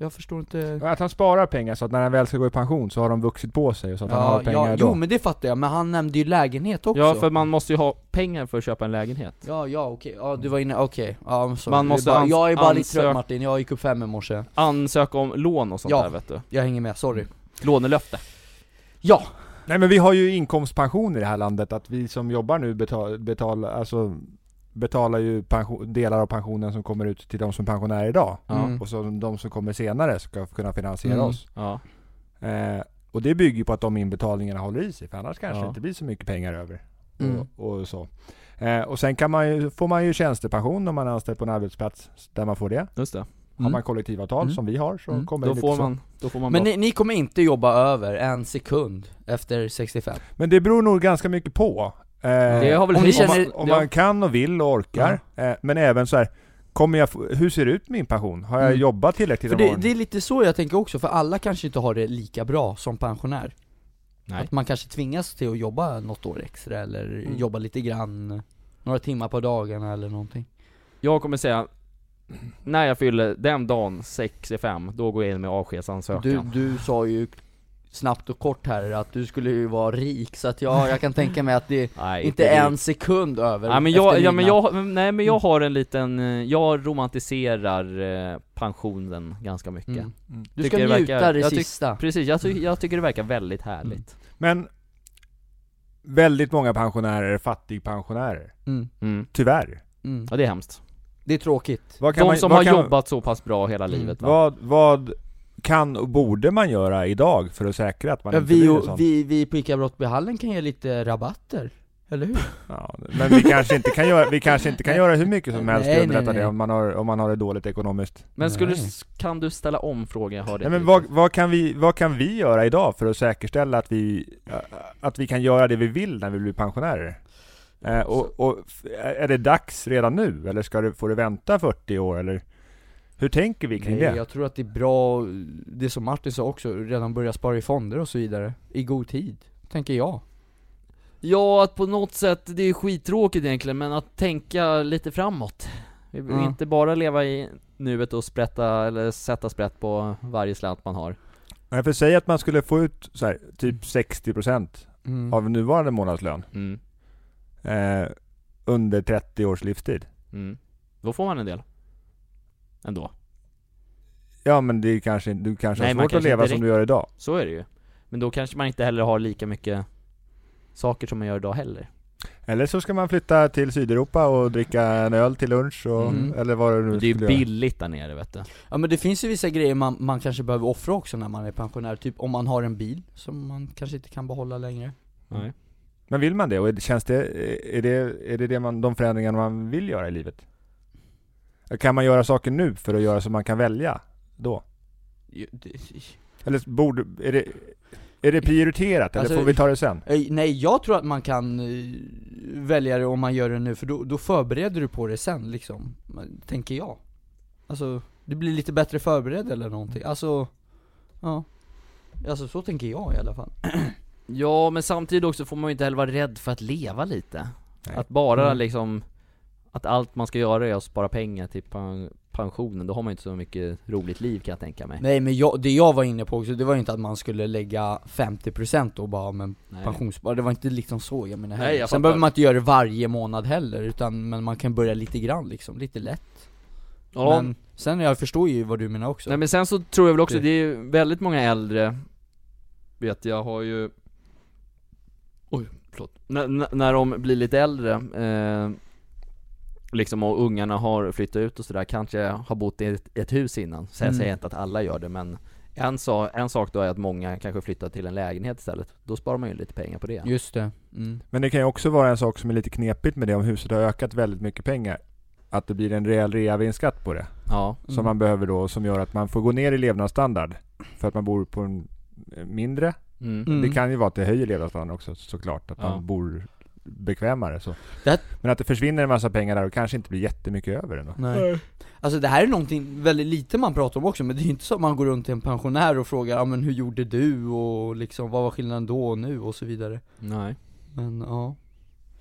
C: jag förstår inte.
B: Att han sparar pengar så att när han väl ska gå i pension så har de vuxit på sig så att han har
C: Ja,
B: pengar
C: ja,
B: då.
C: jo men det fattar jag, men han nämnde ju lägenhet också.
A: Ja, för man måste ju ha pengar för att köpa en lägenhet.
C: Ja, ja okej, ja du var inne, okej, ja I'm sorry.
A: Man
C: Det är
A: måste
C: bara,
A: ans-
C: Jag är bara lite
A: ansöka-
C: trött Martin, jag gick upp fem i morse
A: Ansöka om lån och sånt
C: Ja.
A: där vet du.
C: Jag hänger med, sorry
A: Mm. Lånelöfte.
C: Ja!
B: Nej men vi har ju inkomstpension i det här landet, att vi som jobbar nu betal, betalar, alltså betalar ju pension, delar av pensionen som kommer ut till de som är pensionärer idag.
A: Ja.
C: Mm.
B: Och så de som kommer senare ska kunna finansiera
C: Mm.
B: oss.
A: Ja.
B: Eh, och det bygger ju på att de inbetalningarna håller i sig, för annars kanske
A: Ja.
B: det inte blir så mycket pengar över.
C: Mm.
B: Och, och så. Eh, och sen kan man ju, får man ju tjänstepension om man är anställd på en arbetsplats där man får det.
A: Just det.
B: Har
C: Mm.
B: man kollektivavtal
C: Mm.
B: som vi har så
C: Mm.
B: kommer det
A: Då
B: lite
A: får
B: så.
A: man, då får man
C: Men
A: bra.
C: ni, ni kommer inte jobba över en sekund efter 65?
B: Men det beror nog ganska mycket på. Eh,
A: Det har väl
C: Om ni
A: höjts-
B: om
C: känner-
B: man, om
A: det har-
B: man kan och vill och orkar. Eh, men även så här, kommer jag, få- hur ser det ut med min pension? Har jag
C: Mm.
B: jobbat tillräckligt
C: För
B: de
C: det,
B: åren?
C: det är lite så jag tänker också, för alla kanske inte har det lika bra som pensionär
A: Nej.
C: Att man kanske tvingas till att jobba något år extra eller
B: Mm.
C: jobba lite grann Några timmar på dagarna eller någonting
A: Jag kommer säga, när jag fyller den dagen 65, då går jag in med avskedsansökan.
C: du, du sa ju snabbt och kort här att du skulle ju vara rik, så att ja, jag kan tänka mig att det
A: [LAUGHS] Nej,
C: inte
A: det-
C: en sekund över
A: Nej men jag,
C: efter
A: ja, men
C: midnatt.
A: jag, nej men jag har en liten, eh, jag romantiserar eh, pensionen ganska mycket.
C: Mm.
B: Mm.
C: Du
A: Tycker
C: ska
A: det verkar-
C: njuta det
A: jag tyck-
C: sista
A: Precis, jag, ty- jag tycker det verkar väldigt härligt.
B: Men väldigt många pensionärer är fattigpensionärer.
C: mm.
A: Mm.
B: Tyvärr.
C: Mm.
A: Ja det är hemskt.
C: Det är tråkigt
B: Vad
A: De
B: man-
A: som
B: vad
A: har
B: kan-
A: jobbat så pass bra hela
C: Mm.
A: livet va?
B: Vad, vad kan och borde man göra idag för att säkra att man
C: ja,
B: inte blir
C: vi,
B: en sån?
C: och, vi, vi på ICA Brottbyhallen kan ge lite rabatter, eller hur?
B: Ja, men vi kanske inte kan göra, vi kanske inte kan göra hur mycket som helst för att
C: Nej,
B: underlätta
C: nej, nej.
B: det om man, har, om man har det dåligt ekonomiskt.
A: Men skulle,
C: Nej.
A: s- kan du ställa om frågan? Jag hörde
B: Nej, men
A: inte
B: vad,
A: riktigt.
B: vad, kan vi, vad kan vi göra idag för att säkerställa att vi, att vi kan göra det vi vill när vi blir pensionärer? Eh, och, och f- är det dags redan nu eller ska du, får du vänta 40 år eller? Hur tänker vi kring
C: Nej,
B: det?
C: jag tror att det är bra, det som Martin sa också, redan börja spara i fonder och så vidare, i god tid, tänker jag
A: Ja, att på något sätt, det är skittråkigt egentligen, men att tänka lite framåt. Vi vill
C: Ja.
A: Inte bara leva i nuet och sprätta, eller sätta sprätt på varje slant man har.
B: Nej, för säg att man skulle få ut så här, typ 60%
C: mm.
B: av nuvarande månadslön
A: Mm.
B: eh, under 30 års livstid.
A: Mm. Då får man en del. Ändå.
B: Ja men det är kanske, du kanske
A: Nej,
B: har
A: man
B: svårt att
A: kanske
B: leva
A: inte
B: som du gör idag.
A: Så är det ju. Men då kanske man inte heller har lika mycket saker som man gör idag heller.
B: Eller så ska man flytta till Sydeuropa och dricka en öl till lunch och,
C: Mm.
B: eller vad det nu
A: Det är ju
B: skulle göra.
A: billigt där nere vet du.
C: Ja men det finns ju vissa grejer man, man kanske behöver offra också när man är pensionär, typ om man har en bil som man kanske inte kan behålla längre
A: Nej.
B: Men vill man det? Och är det- känns det, är det, är det, det man, de förändringarna man vill göra i livet? Kan man göra saker nu för att göra så man kan välja då?
C: Ju- det-
B: Eller borde, är det, är det prioriterat eller
C: Alltså,
B: får vi ta det sen?
C: Eh, Nej, jag tror att man kan eh, välja det om man gör det nu, för då, då förbereder du på det sen liksom, Men, tänker jag. Alltså, du blir lite bättre förberedd eller någonting, alltså, ja. Alltså så tänker jag i alla fall.
A: Ja, men samtidigt också får man ju inte heller vara rädd för att leva lite.
B: Nej.
A: Att bara
C: Mm.
A: liksom, att allt man ska göra är att spara pengar till pen- pensionen, då har man ju inte så mycket roligt liv kan jag tänka mig.
C: Nej men jag, det jag var inne på också, det var ju inte att man skulle lägga 50% och bara men
A: Nej.
C: pensionsspar, det var inte liksom så jag menar
A: Nej,
C: heller.
A: jag
C: Sen
A: fattar.
C: behöver man inte göra det varje månad heller, utan men man kan börja lite grann liksom, lite lätt.
A: Ja,
C: Men sen jag förstår ju vad du menar också.
A: Nej men sen så tror jag väl också,
C: Det-
A: det är ju väldigt många äldre Vet jag har ju Oj, förlåt N- n- När de blir lite äldre eh, Liksom och ungarna har flyttat ut och sådär, kanske har bott i ett, ett hus innan Så jag
C: Mm.
A: säger inte att alla gör det men en, sa, en sak då är att många kanske flyttar till en lägenhet istället Då sparar man ju lite pengar på det
C: Just det. Mm.
B: Men det kan ju också vara en sak som är lite knepigt med det om huset har ökat väldigt mycket pengar. Att det blir en rejäl reavinstskatt på det.
A: Ja,
C: Mm.
B: Som man behöver då och som gör att man får gå ner i levnadsstandard. För att man bor på en eh, mindre.
A: mm.
C: Mm.
B: Det kan ju vara att det höjer levnadsstandarden också såklart. Att
A: Ja.
B: man bor bekvämare så.
C: Det-
B: Men att det försvinner en massa pengar där och kanske inte blir jättemycket över ändå.
C: Nej. Alltså det här är någonting väldigt lite man pratar om också, men det är ju inte så att man går runt till en pensionär och frågar ja, men hur gjorde du och liksom vad var skillnaden då och nu och så vidare
A: nej
C: Men ja,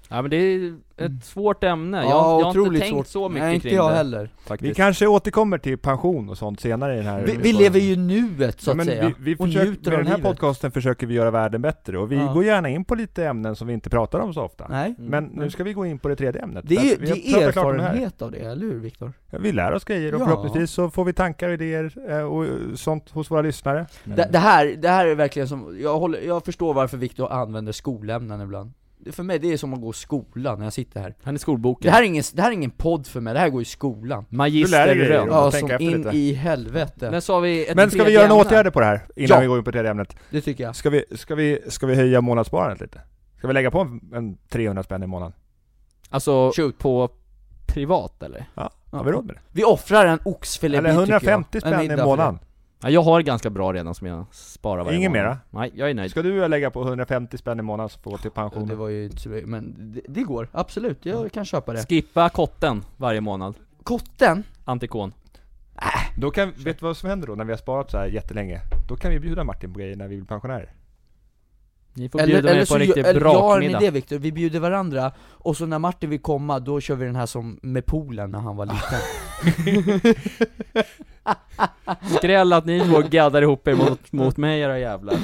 A: Ja men det är ett
C: Mm.
A: svårt ämne, jag, jag har inte
C: otroligt
A: tänkt
C: svårt.
A: så mycket
C: Nej inte
A: kring
C: jag
A: det
C: heller
B: Vi
A: faktiskt
B: kanske återkommer till pension och sånt senare i den här
C: vi, vi lever ju i nuet så
B: Ja,
C: att
B: men
C: säga,
B: Vi, vi
C: och
B: försöker,
C: njuter
B: med
C: av
B: den här
C: livet
B: podcasten försöker vi göra världen bättre och vi
C: Ja.
B: går gärna in på lite ämnen som vi inte pratar om så ofta.
C: Nej,
A: Mm.
B: Men nu ska vi gå in på det tredje ämnet.
C: det är
B: För
C: ju
B: att vi har
C: det är
B: pratat klart om det här.
C: erfarenhet av det, eller hur Viktor?
B: Ja, Vi lär oss grejer och
C: Ja.
B: förhoppningsvis så får vi tankar och idéer eh, och eh, sånt hos våra lyssnare.
C: Det, det, här, det här är verkligen som, jag, håller, jag förstår varför Viktor använder skolämnen ibland Det- För mig det är som att gå i skolan när jag sitter här
A: Han är
C: Det
A: skolboken
C: här är ingen, det här är ingen podd för mig, det här går i skolan
B: Du lär dig
A: Magister
B: grejer.
A: Rönn.
B: Ja,
C: Ja,
B: tänka
C: som
B: efter
C: in
B: lite.
C: i helvete,
A: Men så har vi ett
B: Men ska vi
A: tredje
B: göra några
A: ämne?
B: åtgärder på det här innan
C: Ja.
B: vi går in på tredje ämnet?
C: det tycker jag
B: Ska vi, ska vi, ska vi höja månadssparandet lite? Ska vi lägga på en, en 300 spänn i månaden?
A: Alltså,
C: Shoot.
A: på privat eller?
B: Har vi råd med det?
C: Vi offrar en oxfilébit
B: Eller 150
C: tycker jag. En
B: spänn i
C: middag för
B: månaden?
A: Ja, jag har ganska bra redan som jag sparar varje
B: Ingen
A: månad.
B: mera?
A: Nej, jag är nöjd.
B: Ska du lägga på 150 spänn i månaden så får gå till
C: det. Det
B: pensionen?
C: var ju inte så men det, det går, absolut, jag kan köpa det
A: Skippa kotten varje månad.
C: Kotten,
A: Antikon.
B: Då kan, vet du vad som händer då när vi har sparat så här jättelänge? Då kan vi bjuda Martin på grejer när vi blir pensionärer.
A: Ni får bjuda mig på en
C: gö-
A: riktig
C: eller jag har en
A: brakmiddag.
C: idé Viktor, vi bjuder varandra, och så när Martin vill komma, då kör vi den här som med poolen när han
B: [LAUGHS]
C: var liten
A: Skräll att ni två gaddar ihop er mot, mot mig era jävlar.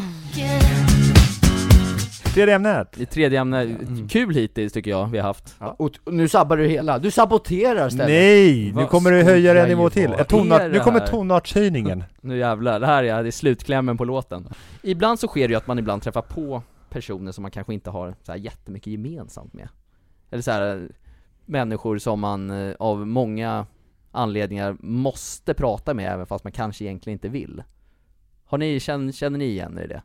B: Tredje ämnet!
A: I tredje ämne,
C: Mm.
A: kul hittills tycker jag vi har haft.
C: Och t- och nu sabbar du hela, du saboterar istället
B: Nej! Nu
A: Vad
B: kommer du höja
C: skojar
B: en
C: ju
B: nivå
C: vad
B: till. Ett
A: är
B: tonart,
A: det
B: nu kommer
A: här?
C: [LAUGHS]
B: tonartshöjningen.
A: Nu jävlar, det här är, det är slutklämmen på låten. Ibland så sker det ju att man ibland träffar på personer som man kanske inte har så här jättemycket gemensamt med. Eller så här människor som man eh, av många anledningar måste prata med även fast man kanske egentligen inte vill. Har ni, känner, känner ni igen er i det?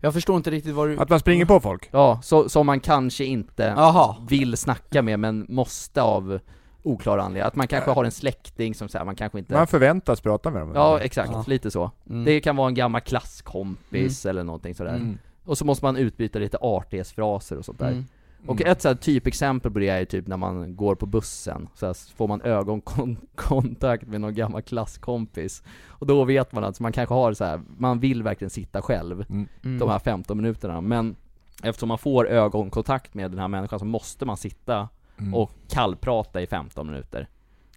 C: Jag förstår inte riktigt vad du...
B: Att man springer på folk.
A: Ja, så, som man kanske inte
C: Jaha,
A: vill snacka med men måste av oklara anledningar. Att man kanske har en släkting som säger man kanske inte...
B: Man förväntas prata med dem.
A: Ja, exakt.
C: Ja.
A: Lite så.
C: mm.
A: Det kan vara en gammal klasskompis eller någonting sådär.
B: Mm.
A: Och så måste man utbyta lite artighetsfraser och sånt där.
C: Mm.
A: Och ett så här typexempel på det är ju typ när man går på bussen, så här får man ögonkontakt med någon gammal klasskompis. Och då vet man att man kanske har så här, man vill verkligen sitta själv
C: Mm.
A: de här 15 minuterna, men eftersom man får ögonkontakt med den här människan så måste man sitta
B: Mm.
A: och kallprata i 15 minuter.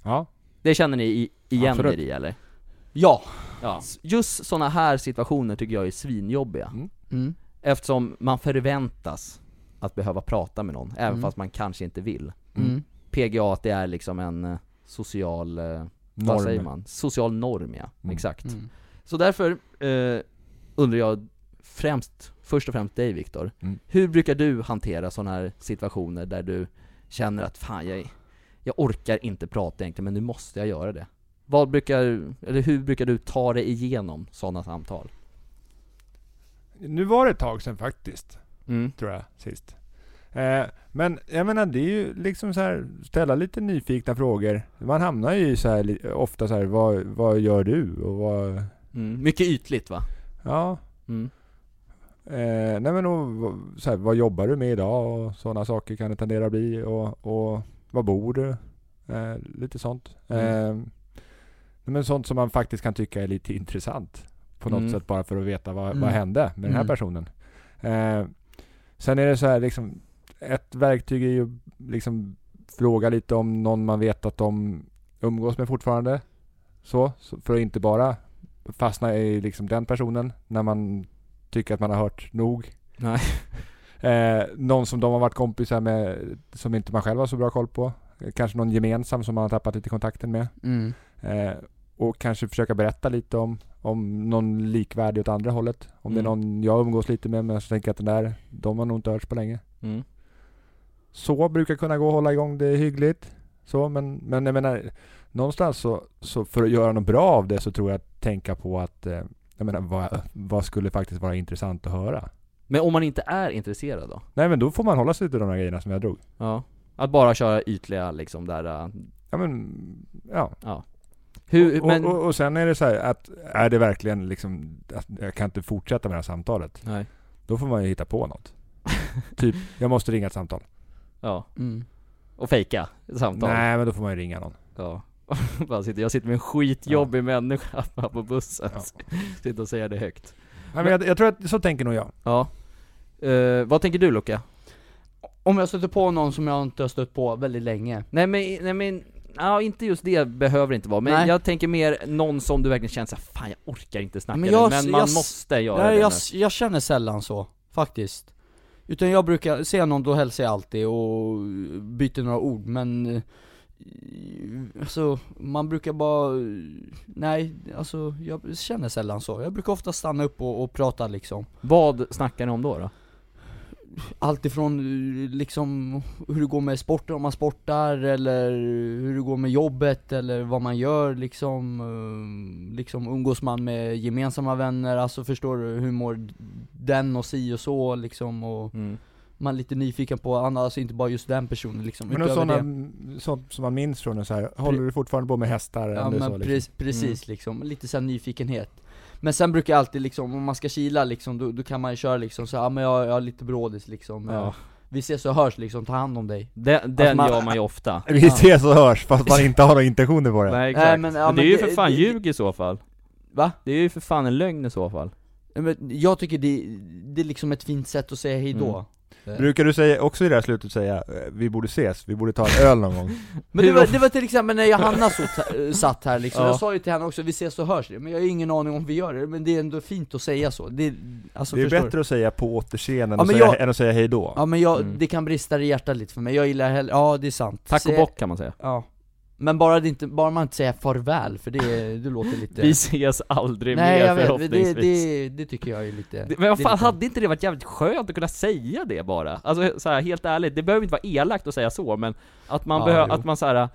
B: Ja.
A: Det känner ni i- igen er
B: Absolut.
A: i eller?
C: Ja!
A: Ja. Just sådana här situationer tycker jag är svinjobbiga.
C: Mm.
A: Eftersom man förväntas att behöva prata med någon, även
C: Mm.
A: fast man kanske inte vill.
C: Mm.
A: PGA, att det är liksom en eh, social, eh, vad säger
B: Norm.
A: man? Social norm ja,
B: Mm.
A: exakt.
C: Mm.
A: Så därför eh, undrar jag främst, först och främst dig Viktor.
B: Mm.
A: Hur brukar du hantera sådana här situationer där du känner att fan jag, jag orkar inte prata egentligen men nu måste jag göra det? Vad brukar, eller hur brukar du ta dig igenom sådana samtal?
B: Nu var det ett tag sedan faktiskt.
A: Mm.
B: tror jag, sist. Eh, men jag menar, det är ju liksom så här, ställa lite nyfikna frågor. Man hamnar ju så här, li- ofta så här, vad, vad gör du? Och vad,
A: Mm. Mycket ytligt va?
B: ja,
A: Mm.
B: eh, nej men och, vad- så här, vad jobbar du med idag? Och sådana saker kan det tendera att bli. Och, och var bor du? Eh, lite sånt. Eh, men sånt som man faktiskt kan tycka är lite intressant. På något
A: Mm.
B: sätt bara för att veta vad,
C: Mm.
B: vad hände med den här
C: Mm.
B: personen. Eh, sen är det så här liksom, ett verktyg är ju liksom fråga lite om någon man vet att de umgås med fortfarande. Så, så för att inte bara fastna i liksom den personen när man tycker att man har hört nog.
A: Nej.
B: [LAUGHS] Eh, någon som de har varit kompisar med som inte man själv har så bra koll på. Eh, Kanske någon gemensam som man har tappat lite kontakten med.
C: Mm.
B: Eh, och kanske försöka berätta lite om, om någon likvärdig åt andra hållet. Om det är
A: Mm.
B: någon jag umgås lite med men så tänker jag att den där, de har nog inte hörts på länge.
A: Mm.
B: Så brukar kunna gå att hålla igång det hyggligt. Så, men, men jag menar, någonstans så, så för att göra något bra av det så tror jag att tänka på att eh, jag menar, vad, vad skulle faktiskt vara intressant att höra?
A: Men om man inte är intresserad då?
B: Nej men då får man hålla sig till de här grejerna som jag drog.
A: Ja. Att bara köra ytliga liksom där, äh,
B: Ja men, ja.
A: hur, men...
B: och, och, och sen är det så här att, är det verkligen liksom, att jag kan inte fortsätta med det här samtalet.
A: Nej.
B: Då får man ju hitta på
C: [LAUGHS]
B: något. typ, jag måste ringa ett samtal.
A: Ja.
C: Mm.
A: Och fejka ett samtal.
B: Nej men då får man ju ringa någon.
A: Ja. [LAUGHS] Bara sitter, jag sitter med en skitjobbig människa [LAUGHS] här på bussen.
B: Ja.
A: Sitter och säger det högt.
B: Nej, men jag, jag tror att, så tänker nog jag.
A: Ja. Eh, vad tänker du Luca?
C: Om jag stöter på någon som jag inte har stött på väldigt länge
A: Nej men, nej men, ja inte just det behöver inte vara, men
C: Nej.
A: jag tänker mer någon som du verkligen känner såhär, fan jag orkar inte snacka
C: Men
A: men,
C: jag-
A: men man
C: jag-
A: måste göra
C: Nej,
A: det
C: jag,
A: nu.
C: jag känner sällan så, faktiskt Utan jag brukar, ser jag någon då hälsar jag alltid och byter några ord men eh, Alltså, man brukar bara, nej, alltså jag känner sällan så Jag brukar ofta stanna upp och, och prata liksom
A: Vad snackar ni om då? då?
C: Allt ifrån eh, liksom hur det går med sporten, om man sportar eller hur det går med jobbet eller vad man gör liksom eh, Liksom umgås man med gemensamma vänner, alltså förstår du, hur mår den och si och så liksom och man är lite nyfiken på annars, alltså inte bara just den personen liksom
B: Men
C: utöver
B: något sådana,
C: det.
B: sånt som man minns från en så här, håller du fortfarande på med hästar
C: Ja
B: eller
C: men
B: så? Liksom?
C: pre- precis liksom, lite såhär nyfikenhet Men sen brukar jag alltid liksom, om man ska kila liksom, då, då kan man ju köra liksom så här, ja men jag, jag är lite brådis liksom
A: Ja.
C: Vi ses och hörs liksom, ta hand om dig
A: Den, den
C: man-
A: gör man ju ofta.
B: Vi ses och hörs fast
C: [LAUGHS]
B: man inte har några intentioner på det.
A: Nej
C: exakt.
A: exakt.
C: Nej,
A: men,
C: men, ja,
A: det är
C: men
A: ju
C: det-
A: för fan
C: det-
A: ljug i så fall.
C: Va?
A: Det är ju för fan en lögn i så fall.
C: Ja, Men jag tycker det, det är liksom ett fint sätt att säga hejdå
A: Mm.
B: Brukar du säga, också i det här slutet säga, eh, vi borde ses, vi borde ta en öl någon gång?
C: Men det
A: Hur
C: var,
A: ofta-
C: det var till exempel när
A: [LAUGHS]
C: Johanna satt, satt här liksom,
A: Ja.
C: jag sa ju till henne också 'vi ses och hörs' det", men jag har ju ingen aning om vi gör det, men det är ändå fint att säga [LAUGHS] så, det, är- alltså,
B: det är
C: förstår du?
B: bättre att säga på återseende än,
C: Ja,
B: att
C: men
B: säga,
C: jag-
B: än att säga hej då.
C: Ja men jag,
A: Mm.
C: det kan brista i hjärtat lite för mig, jag gillar hellre, ja det är sant
A: Tack och
C: Se-
A: bock kan man säga.
C: Ja Men bara, det inte, bara man inte säger farväl, för det, det låter lite...
A: Vi ses aldrig
C: Nej
A: mer
C: jag vet,
A: förhoppningsvis.
C: det, det, det tycker jag är lite...
A: Det- Men vad
C: det är
A: fan,
C: lite-
A: hade inte det varit jävligt skönt att kunna säga det bara? Alltså så här, helt ärligt, det behöver inte vara elakt att säga så, men att man
C: Ja,
A: behöver,
C: jo.
A: att man så här,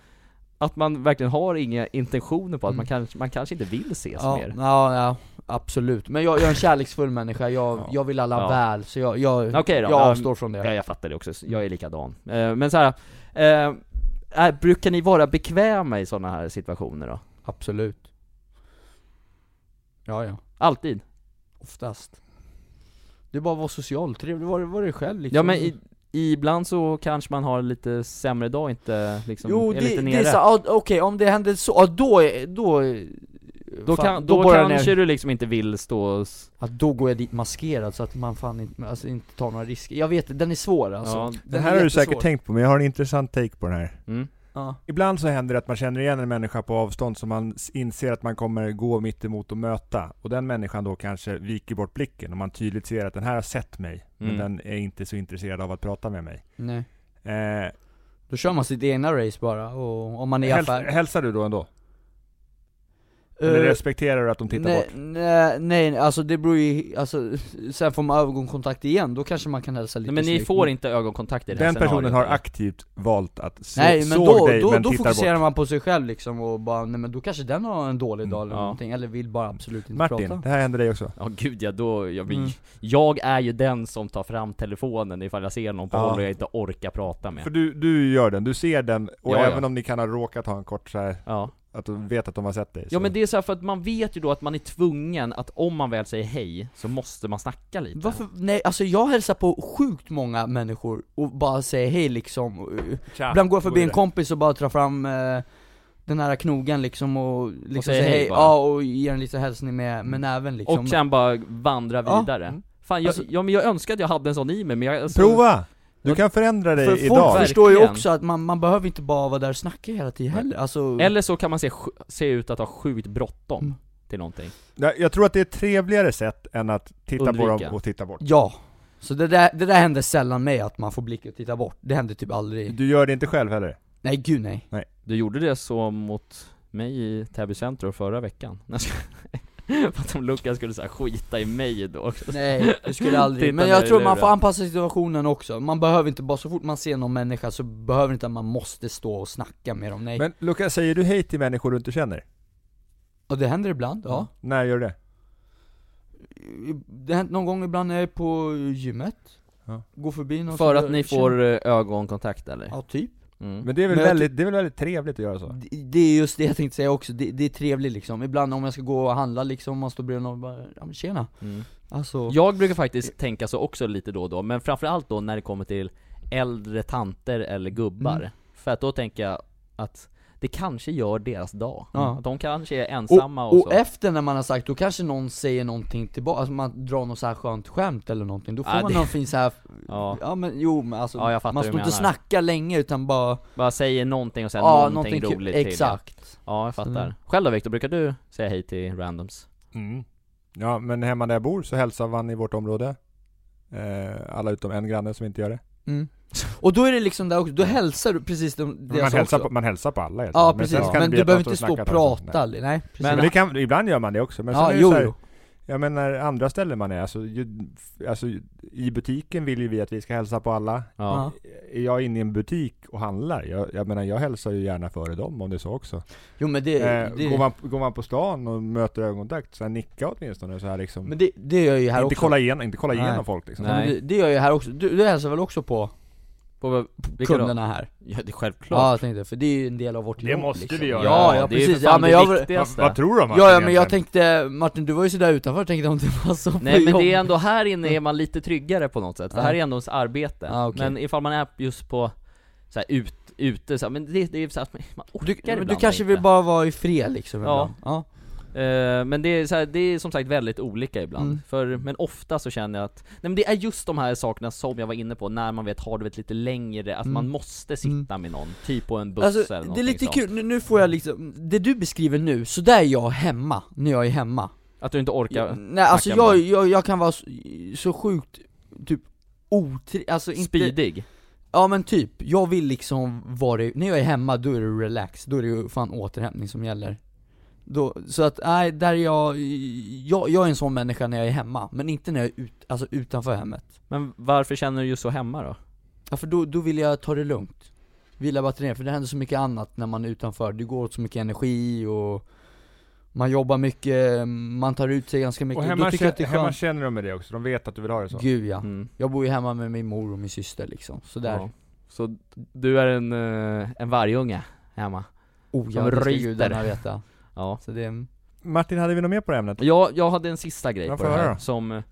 A: att man verkligen har inga intentioner på att man,
C: Mm.
A: kanske, man kanske inte vill ses
C: ja,
A: mer.
C: ja, ja, absolut. Men jag, jag är en kärleksfull människa, jag,
B: Ja.
C: jag vill alla
A: Ja.
C: väl, så jag, jag,
A: Okej då,
C: jag
A: ja,
C: avstår från det
A: Ja, jag fattar det också, jag är likadan. Eh, Men så här, eh, är, brukar ni vara bekväma i sådana här situationer då?
C: Absolut Ja ja,
A: Alltid?
C: oftast Det är bara att vara social, trevlig, var, var dig själv liksom
A: Ja men i, ibland så kanske man har lite sämre dag, inte liksom,
C: Jo
A: är
C: det,
A: lite
C: det är
A: nere.
C: så, ja, okej om det händer så, ja, då, är- då
A: då
C: fan,
A: kan, då
C: borrar jag
A: kanske
C: ner.
A: du liksom inte vill stå och s-
C: ja, då går jag dit maskerad så att man fan inte, alltså, inte tar några risker Jag vet, den är svår alltså
A: ja,
B: den
C: är
B: här har du säkert
C: jättesvår.
B: tänkt på, men jag har en intressant take på den här.
A: mm.
C: ja.
B: Ibland så händer det att man känner igen en människa på avstånd som man s- inser att man kommer gå mitt emot och möta. Och den människan då kanske viker bort blicken och man tydligt ser att den här har sett mig,
A: Mm.
B: men den är inte så intresserad av att prata med mig.
C: Nej
B: Eh,
C: Då kör man sitt egna race bara, och om man är i
B: häls-
C: affär
B: hälsar du då ändå? Eller
C: Eh,
B: respekterar du att de tittar
C: nej,
B: bort?
C: nej, nej, alltså det beror ju, alltså, [LAUGHS] sen får man ögonkontakt igen, då kanske man kan hälsa lite
A: Nej, men ni
C: snyggt.
A: får inte ögonkontakt i det här
B: Den personen har
A: scenariot.
B: aktivt valt att se,
C: Nej men
B: såg
C: då,
B: dig
C: då,
B: men
C: då
B: tittar
C: fokuserar
B: bort.
C: man på sig själv liksom och bara, nej men då kanske den har en dålig dag eller
A: Mm, Ja.
C: någonting, eller vill bara absolut inte
B: Martin,
C: prata
B: det här händer dig också.
A: Ja gud ja, då, jag, blir,
C: Mm.
A: jag är ju den som tar fram telefonen ifall jag ser någon på
B: Ja.
A: håll och jag inte orkar prata med.
B: För du, du gör den, du ser den, och
A: Ja, ja.
B: även om ni kan ha råkat ha en kort så här,
A: Ja.
B: att du vet att de har sett dig.
A: ja
B: så-
A: men det är så här för att man vet ju då att man är tvungen att om man väl säger hej, så måste man snacka lite.
C: Varför, nej alltså jag hälsar på sjukt många människor och bara säger hej liksom Och, eh,
B: Tja,
C: Ibland går jag förbi en
B: vidare.
C: kompis och bara tar fram eh, den här knogen liksom och liksom
A: säger hej bara. Mm.
C: ja och ger en liten hälsning med, med näven liksom
A: Och sen bara vandra
C: Ja.
A: vidare.
B: Mm.
A: Fan jag,
C: Alltså-
A: ja, men jag önskar att jag hade en sån i mig men jag... Alltså,
B: Prova! Du kan förändra dig
C: För folk
B: idag.
A: först-
C: förstår ju
A: Verkligen.
C: också att man, man behöver inte bara vara där och snacka hela tiden heller, alltså
A: Eller så kan man se, sj- se ut att ha sjukt bråttom
C: Mm.
A: till någonting.
B: Jag, jag tror att det är ett trevligare sätt än att titta på
A: Undvika.
B: dem och titta bort.
C: Ja, så det där, det där händer sällan mig att man får blicken och titta bort, det händer typ aldrig
B: Du gör det inte själv heller?
C: Nej gud nej
A: Du gjorde det så mot mig i Täby Centrum förra veckan. [LAUGHS] Nej, jag skojar. För att om Lukas skulle så här skita i mig då också.
C: Nej,
A: [LAUGHS]
C: det skulle aldrig,
A: Titta
C: men
A: ner
C: jag
A: i
C: tror man
A: luren.
C: får anpassa situationen också, man behöver inte bara, så fort man ser någon människa så behöver inte att man måste stå och snacka med dem, nej
B: Men Lukas, säger du hej till människor du inte känner?
C: Och det händer ibland, ja
B: När gör du det?
C: Det har hänt någon gång ibland när jag är på gymmet,
B: Ja.
C: går förbi någon
A: För
C: som-
A: att ni får eh, ögonkontakt eller?
C: Ja typ
A: Mm.
B: Men det är väl,
C: Men jag
B: väldigt, det är väl väldigt trevligt att göra så?
C: Det- Det är just det jag tänkte säga också, det, det är trevligt liksom, ibland om jag ska gå och handla liksom, man står bredvid någon och bara, ja men tjena
A: Mm.
C: Alltså
A: Jag brukar faktiskt tänka så också lite då och då, men framförallt då när det kommer till äldre tanter eller gubbar.
C: Mm.
A: För att då tänker jag att det kanske gör deras dag.
C: Ja.
A: Att de kanske är ensamma och,
C: Och,
A: så.
C: och efter när man har sagt, då kanske någon säger någonting tillbaka, alltså man drar något så här skönt skämt eller någonting, då får
A: Ja,
C: man
A: det-
C: någon fin så här.
A: [LAUGHS] ja,
C: ja men jo men alltså,
A: Ja, jag fattar
C: man
A: hur
C: står
A: du
C: inte och
A: menar.
C: snackar länge utan bara,
A: bara säger någonting och sen
C: ja
A: någonting,
C: någonting, kul,
A: roligt till.
C: exakt
A: Ja, jag fattar.
C: Mm.
A: Själv då Viktor, brukar du säga hej till randoms?
B: Mm. Ja, men hemma där jag bor så hälsar man i vårt område. Eh, alla utom en granne som inte gör det.
C: mm. Och då är det liksom där också, då hälsar du precis de, det
B: Man
C: jag sa
B: hälsar,
C: också.
B: på, man hälsar på alla helt
C: Ja
B: enkelt.
C: precis,
B: sen
C: men,
B: kan det bli
C: du
B: att
C: behöver
B: man
C: inte stå och
B: snackar ett tag.
C: prata, nej, nej precis
B: Men,
A: Men-
B: det kan, ibland gör man det också, men sen
C: Ja,
B: är det så
C: jo,
B: här,
C: jo.
B: Jag menar andra ställen man är, alltså, ju, alltså i butiken vill ju vi att vi ska hälsa på alla.
A: Ja.
B: Är jag inne i en butik och handlar, jag, jag menar jag hälsar ju gärna före dem om det är så också.
C: Jo men det,
B: Eh,
C: det
B: går, man, går man på stan och möter ögonkontakt, så här, nicka åtminstone så här liksom.
C: men det, det gör jag ju här
B: inte,
C: också
B: kolla igen, inte kolla
C: Nej.
B: igenom folk liksom.
C: Nej. men
A: Nej.
C: Det, det gör jag ju här också, du, du hälsar väl också på
A: På vilka då?
C: kunderna här?
A: Ja, det är självklart.
C: Ja jag tänkte, för det är ju en del av vårt
B: Det
C: jobb
B: måste
C: liksom.
B: vi göra.
C: Ja, ja
A: det är ju
C: precis,
A: för
C: ja
A: fan
C: men
A: det
C: jag,
B: Vad,
A: viktigaste.
B: vad tror de
C: Ja, ja men jag tänkte, Martin du var ju sådär utanför, jag tänkte om det var så på
A: Nej men
C: jobb.
A: det är ändå, här inne är man lite tryggare på något sätt, för
C: Ja.
A: här är ändå ens arbete.
C: Ja, okej.
A: Men ifall man är just på, så här, ut, ute så här, men det, det är så här, att man orkar
C: Du,
A: ibland
C: du kanske
A: inte.
C: vill bara vara i fred liksom
A: Ja.
C: ibland. ja.
A: Eh, Men det är, så här, det är som sagt väldigt olika ibland,
C: Mm.
A: för, men ofta så känner jag att, nej men det är just de här sakerna som jag var inne på, när man vet, har du vet lite längre, att
C: Mm.
A: man måste sitta med någon, typ på en buss
C: Alltså,
A: eller
C: det är
A: någonting
C: lite
A: sånt.
C: kul, nu, nu får jag liksom, det du beskriver nu, så där är jag hemma, när jag är hemma
A: Att du inte orkar
C: Nej alltså
A: snacka
C: jag,
A: med
C: jag, jag kan vara så, så sjukt, typ otre, alltså inte
A: Speedig.
C: Ja men typ, jag vill liksom vara, i- när jag är hemma då är det relax, då är det ju fan återhämtning som gäller då, Så att, nej, där är jag, jag, jag är en sån människa när jag är hemma, men inte när jag är ut, alltså utanför hemmet
A: Men varför känner du just så hemma då?
C: Ja för då, då vill jag ta det lugnt Vila batterierna, för det händer så mycket annat när man är utanför, det går åt så mycket energi och man jobbar mycket, man tar ut sig ganska mycket,
B: Och
C: då
B: hemma,
C: tycker jag att det
B: känner,
C: är
B: hemma
C: skönt
B: känner de med det också, de vet att du vill ha det så.
C: Gud ja,
A: Mm.
C: jag bor ju hemma med min mor och min syster liksom, så där
A: Ja. Så du är en, eh, en vargunge hemma?
C: Oh
A: Som
C: ja, det ska
A: ryter.
C: gudarna veta
A: Ja.
C: Så det, mm. är-
B: Martin, hade vi något mer på det ämnet?
A: Jag, jag hade en sista grej
B: Ja,
A: på
B: får
A: det
B: höra
A: här
B: då.
A: som, eh,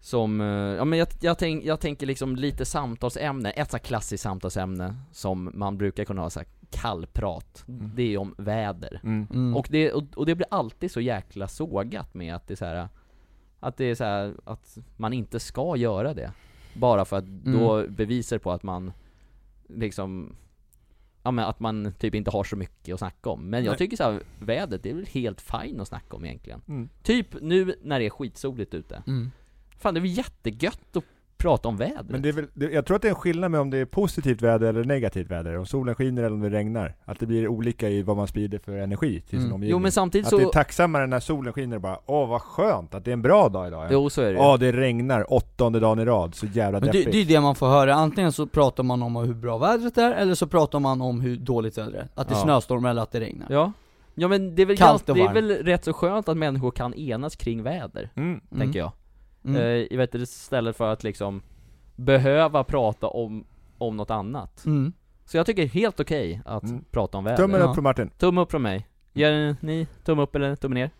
A: som, eh, ja men jag, jag, tänk, jag tänker liksom lite samtalsämne, ett så här klassiskt samtalsämne som man brukar kunna ha så här kallprat,
B: Mm.
A: det är om väder.
B: Mm.
C: mm.
A: Och, det, och, och det blir alltid så jäkla sågat med att det är så här att det är så här, att man inte ska göra det. Bara för att
B: Mm.
A: då bevisar på att man liksom Ja men att man typ inte har så mycket att snacka om. Men jag
B: Nej.
A: tycker så här, vädret, det är väl helt fint att snacka om egentligen.
B: Mm.
A: Typ nu när det är skitsoligt ute.
C: Mm.
A: Fan det är väl jättegött att prata om vädret.
B: Men det är väl, det, jag tror att det är en skillnad med om det är positivt väder eller negativt väder, om solen skiner eller om det regnar. Att det blir olika i vad man sprider för energi till sin
C: Mm.
B: omgivning.
A: jo men samtidigt
B: att
A: så...
B: det är tacksammare när solen skiner och bara åh vad skönt att det är en bra dag idag. Ja.
A: jo så är det ju.
B: Åh det regnar åttonde dagen i rad, så jävla
C: Men det,
B: deppigt.
C: det är det man får höra, antingen så pratar man om hur bra vädret är, eller så pratar man om hur dåligt vädret är. Att det
A: Ja.
C: snöstormar eller att det regnar.
A: Ja. Ja men det är, väl
C: Kallt och
A: ganska, det är
C: varmt.
A: väl rätt så skönt att människor kan enas kring väder,
B: Mm.
C: Mm.
A: tänker jag.
C: Mm.
A: Eh, jag vet, inte, istället för att liksom behöva prata om, om något annat.
C: Mm.
A: Så jag tycker det är helt okej att
B: Mm.
A: prata om väder.
B: Tummen
C: Ja.
B: upp från Martin.
A: Tumme upp från mig. Gör ni tumme upp eller tumme ner?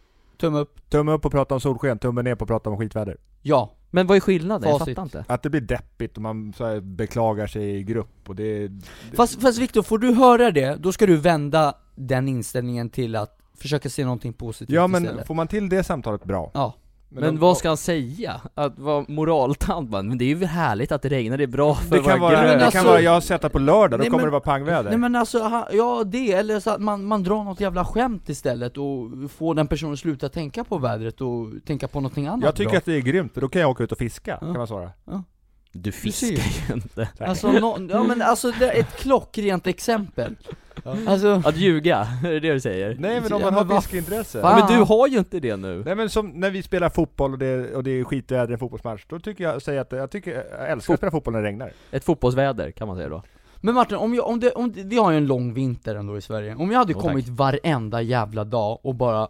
C: Tumme upp.
B: Tumme upp och prata om solsken, tummen ner på att prata om skitväder.
C: Ja.
A: Men vad är skillnaden? Jag
C: Facit.
A: fattar inte.
B: Att det blir deppigt och man så här, beklagar sig i grupp och det...
C: Fast, fast Viktor, får du höra det, då ska du vända den inställningen till att försöka se någonting positivt
B: Ja men
C: istället.
B: får man till det samtalet bra.
C: Ja.
A: Men,
B: om-
A: vad ska han säga? Att vara moraltant bara, men det är ju härligt att det regnar, det är bra för
B: det kan,
A: våra
B: vara,
A: grannar.
C: Men
B: det kan
C: alltså-
B: vara, jag har sett det på lördag, då
C: Nej,
B: kommer
C: men-
B: det vara pangväder.
C: Nej men alltså, ha- ja det, eller så att man, man drar något jävla skämt istället och får den personen att sluta tänka på vädret och tänka på någonting annat
B: jag tycker
C: bra.
B: att det är grymt, för då kan jag åka ut och fiska, kan man svara.
A: Du
C: ser
A: fiskar
C: ju.
A: ju inte.
B: Så här.
C: Alltså, nå- ja men alltså det är ett klockrent exempel Alltså,
A: Att ljuga, [LAUGHS] är det det du säger?
B: Nej men om
C: Ja,
B: man
C: men
B: har
C: vad
B: fiskeintresse.
C: fan.
A: Men du har ju inte det nu.
B: Nej men som när vi spelar fotboll och det, och det är skitväder i en fotbollsmatch, då tycker jag, säger jag att jag tycker, jag älskar att spela fotboll när det regnar.
A: Ett fotbollsväder kan man säga då.
C: men Martin, om jag, om det, om det, vi har ju en lång vinter ändå i Sverige Om jag hade
A: Jo, tack.
C: kommit varenda jävla dag och bara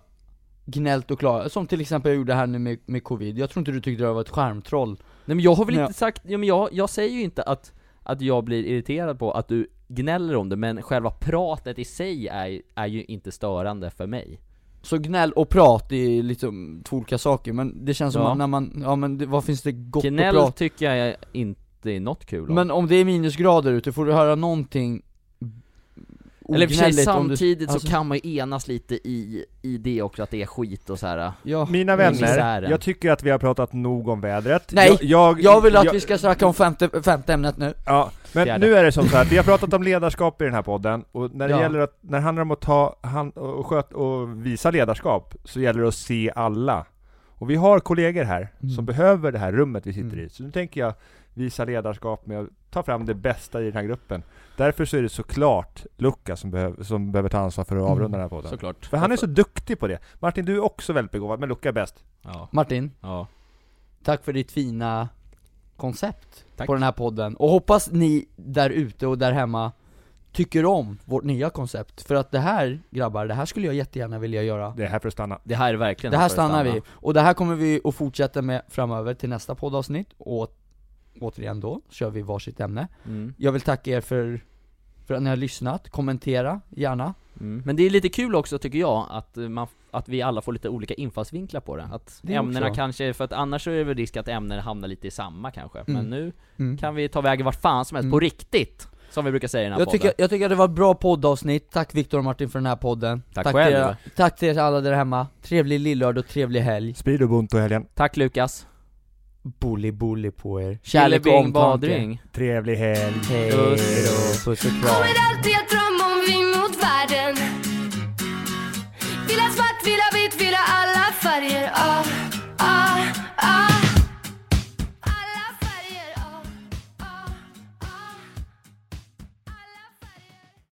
C: gnällt och klarat, som till exempel jag gjorde här nu med, med covid, jag tror inte du tyckte det var ett skärmtroll
A: Nej men jag har väl
C: Nej.
A: inte sagt, ja, men jag, jag säger ju inte att, att jag blir irriterad på att du gnäller om det, men själva pratet i sig är, är ju inte störande för mig.
C: Så gnäll och prat är liksom två olika saker, men det känns som
A: Ja.
C: att när man, ja men det, vad finns det gott att
A: Gnäll
C: prata
A: tycker jag inte är något kul om.
C: Men om det är minusgrader ute, får du höra någonting
A: Eller i och för sig,
C: ognälligt om du-
A: samtidigt
C: alltså-
A: så kan man ju enas lite i, i det också, att det är skit och så här.
C: Ja.
B: Mina vänner,
A: misären.
B: jag tycker att vi har pratat nog om vädret.
C: Nej,
B: jag, jag,
C: Jag vill att
B: jag-
C: vi ska snacka om femte, femte ämnet nu
B: Ja, men
A: Fjärde.
B: nu är det som så här, vi har pratat om ledarskap i den här podden, och när det
C: Ja.
B: gäller att, när det handlar om att ta hand och sköta och visa ledarskap, så gäller det att se alla. Och vi har kollegor här, som
C: Mm.
B: behöver det här rummet vi sitter
C: Mm.
B: i. Så nu tänker jag visa ledarskap med att ta fram det bästa i den här gruppen. Därför så är det såklart Luca som, behöv, som behöver ta ansvar för att avrunda
C: Mm.
B: den här podden.
A: Såklart.
B: För han är så duktig på det. Martin, du är också väldigt begåvad, men Luca är bäst.
A: Ja.
C: Martin,
A: ja.
C: tack för ditt fina koncept
A: Tack.
C: på den här podden, och hoppas ni där ute och där hemma tycker om vårt nya koncept, för att det här grabbar, det här skulle jag jättegärna vilja göra
B: Det är här för att stanna.
A: Det här är verkligen
C: Det här
A: för att
C: stannar
A: stanna.
C: vi, och det här kommer vi att fortsätta med framöver till nästa poddavsnitt, och återigen då kör vi varsitt ämne
A: Mm.
C: Jag vill tacka er för, för att ni har lyssnat, kommentera gärna
A: Mm. Men det är lite kul också tycker jag, att, eh, man, att vi alla får lite olika infallsvinklar på det. Att
C: Det
A: ämnena
C: också.
A: kanske, för att annars så är det väl risk att ämnen hamnar lite i samma kanske.
C: Mm.
A: Men nu
C: mm.
A: kan vi ta vägen vart fan som helst,
C: Mm.
A: på riktigt! Som vi brukar säga i den här
C: jag,
A: podden.
C: tycker, jag tycker att det var ett bra poddavsnitt, tack Viktor och Martin för den här podden
A: Tack
C: till
A: själv.
C: er, Tack till er alla där hemma, trevlig lillördag och trevlig helg
B: Sprid ubuntu i helgen.
A: Tack Lukas!
C: Bully bully på er,
A: Kärlek
C: kärlek och omtanke
A: badring!
B: Trevlig helg.
C: Hej då,
A: Puss.
C: puss och kram
E: Kommer alltid att drömma om vi mot Ah, ah,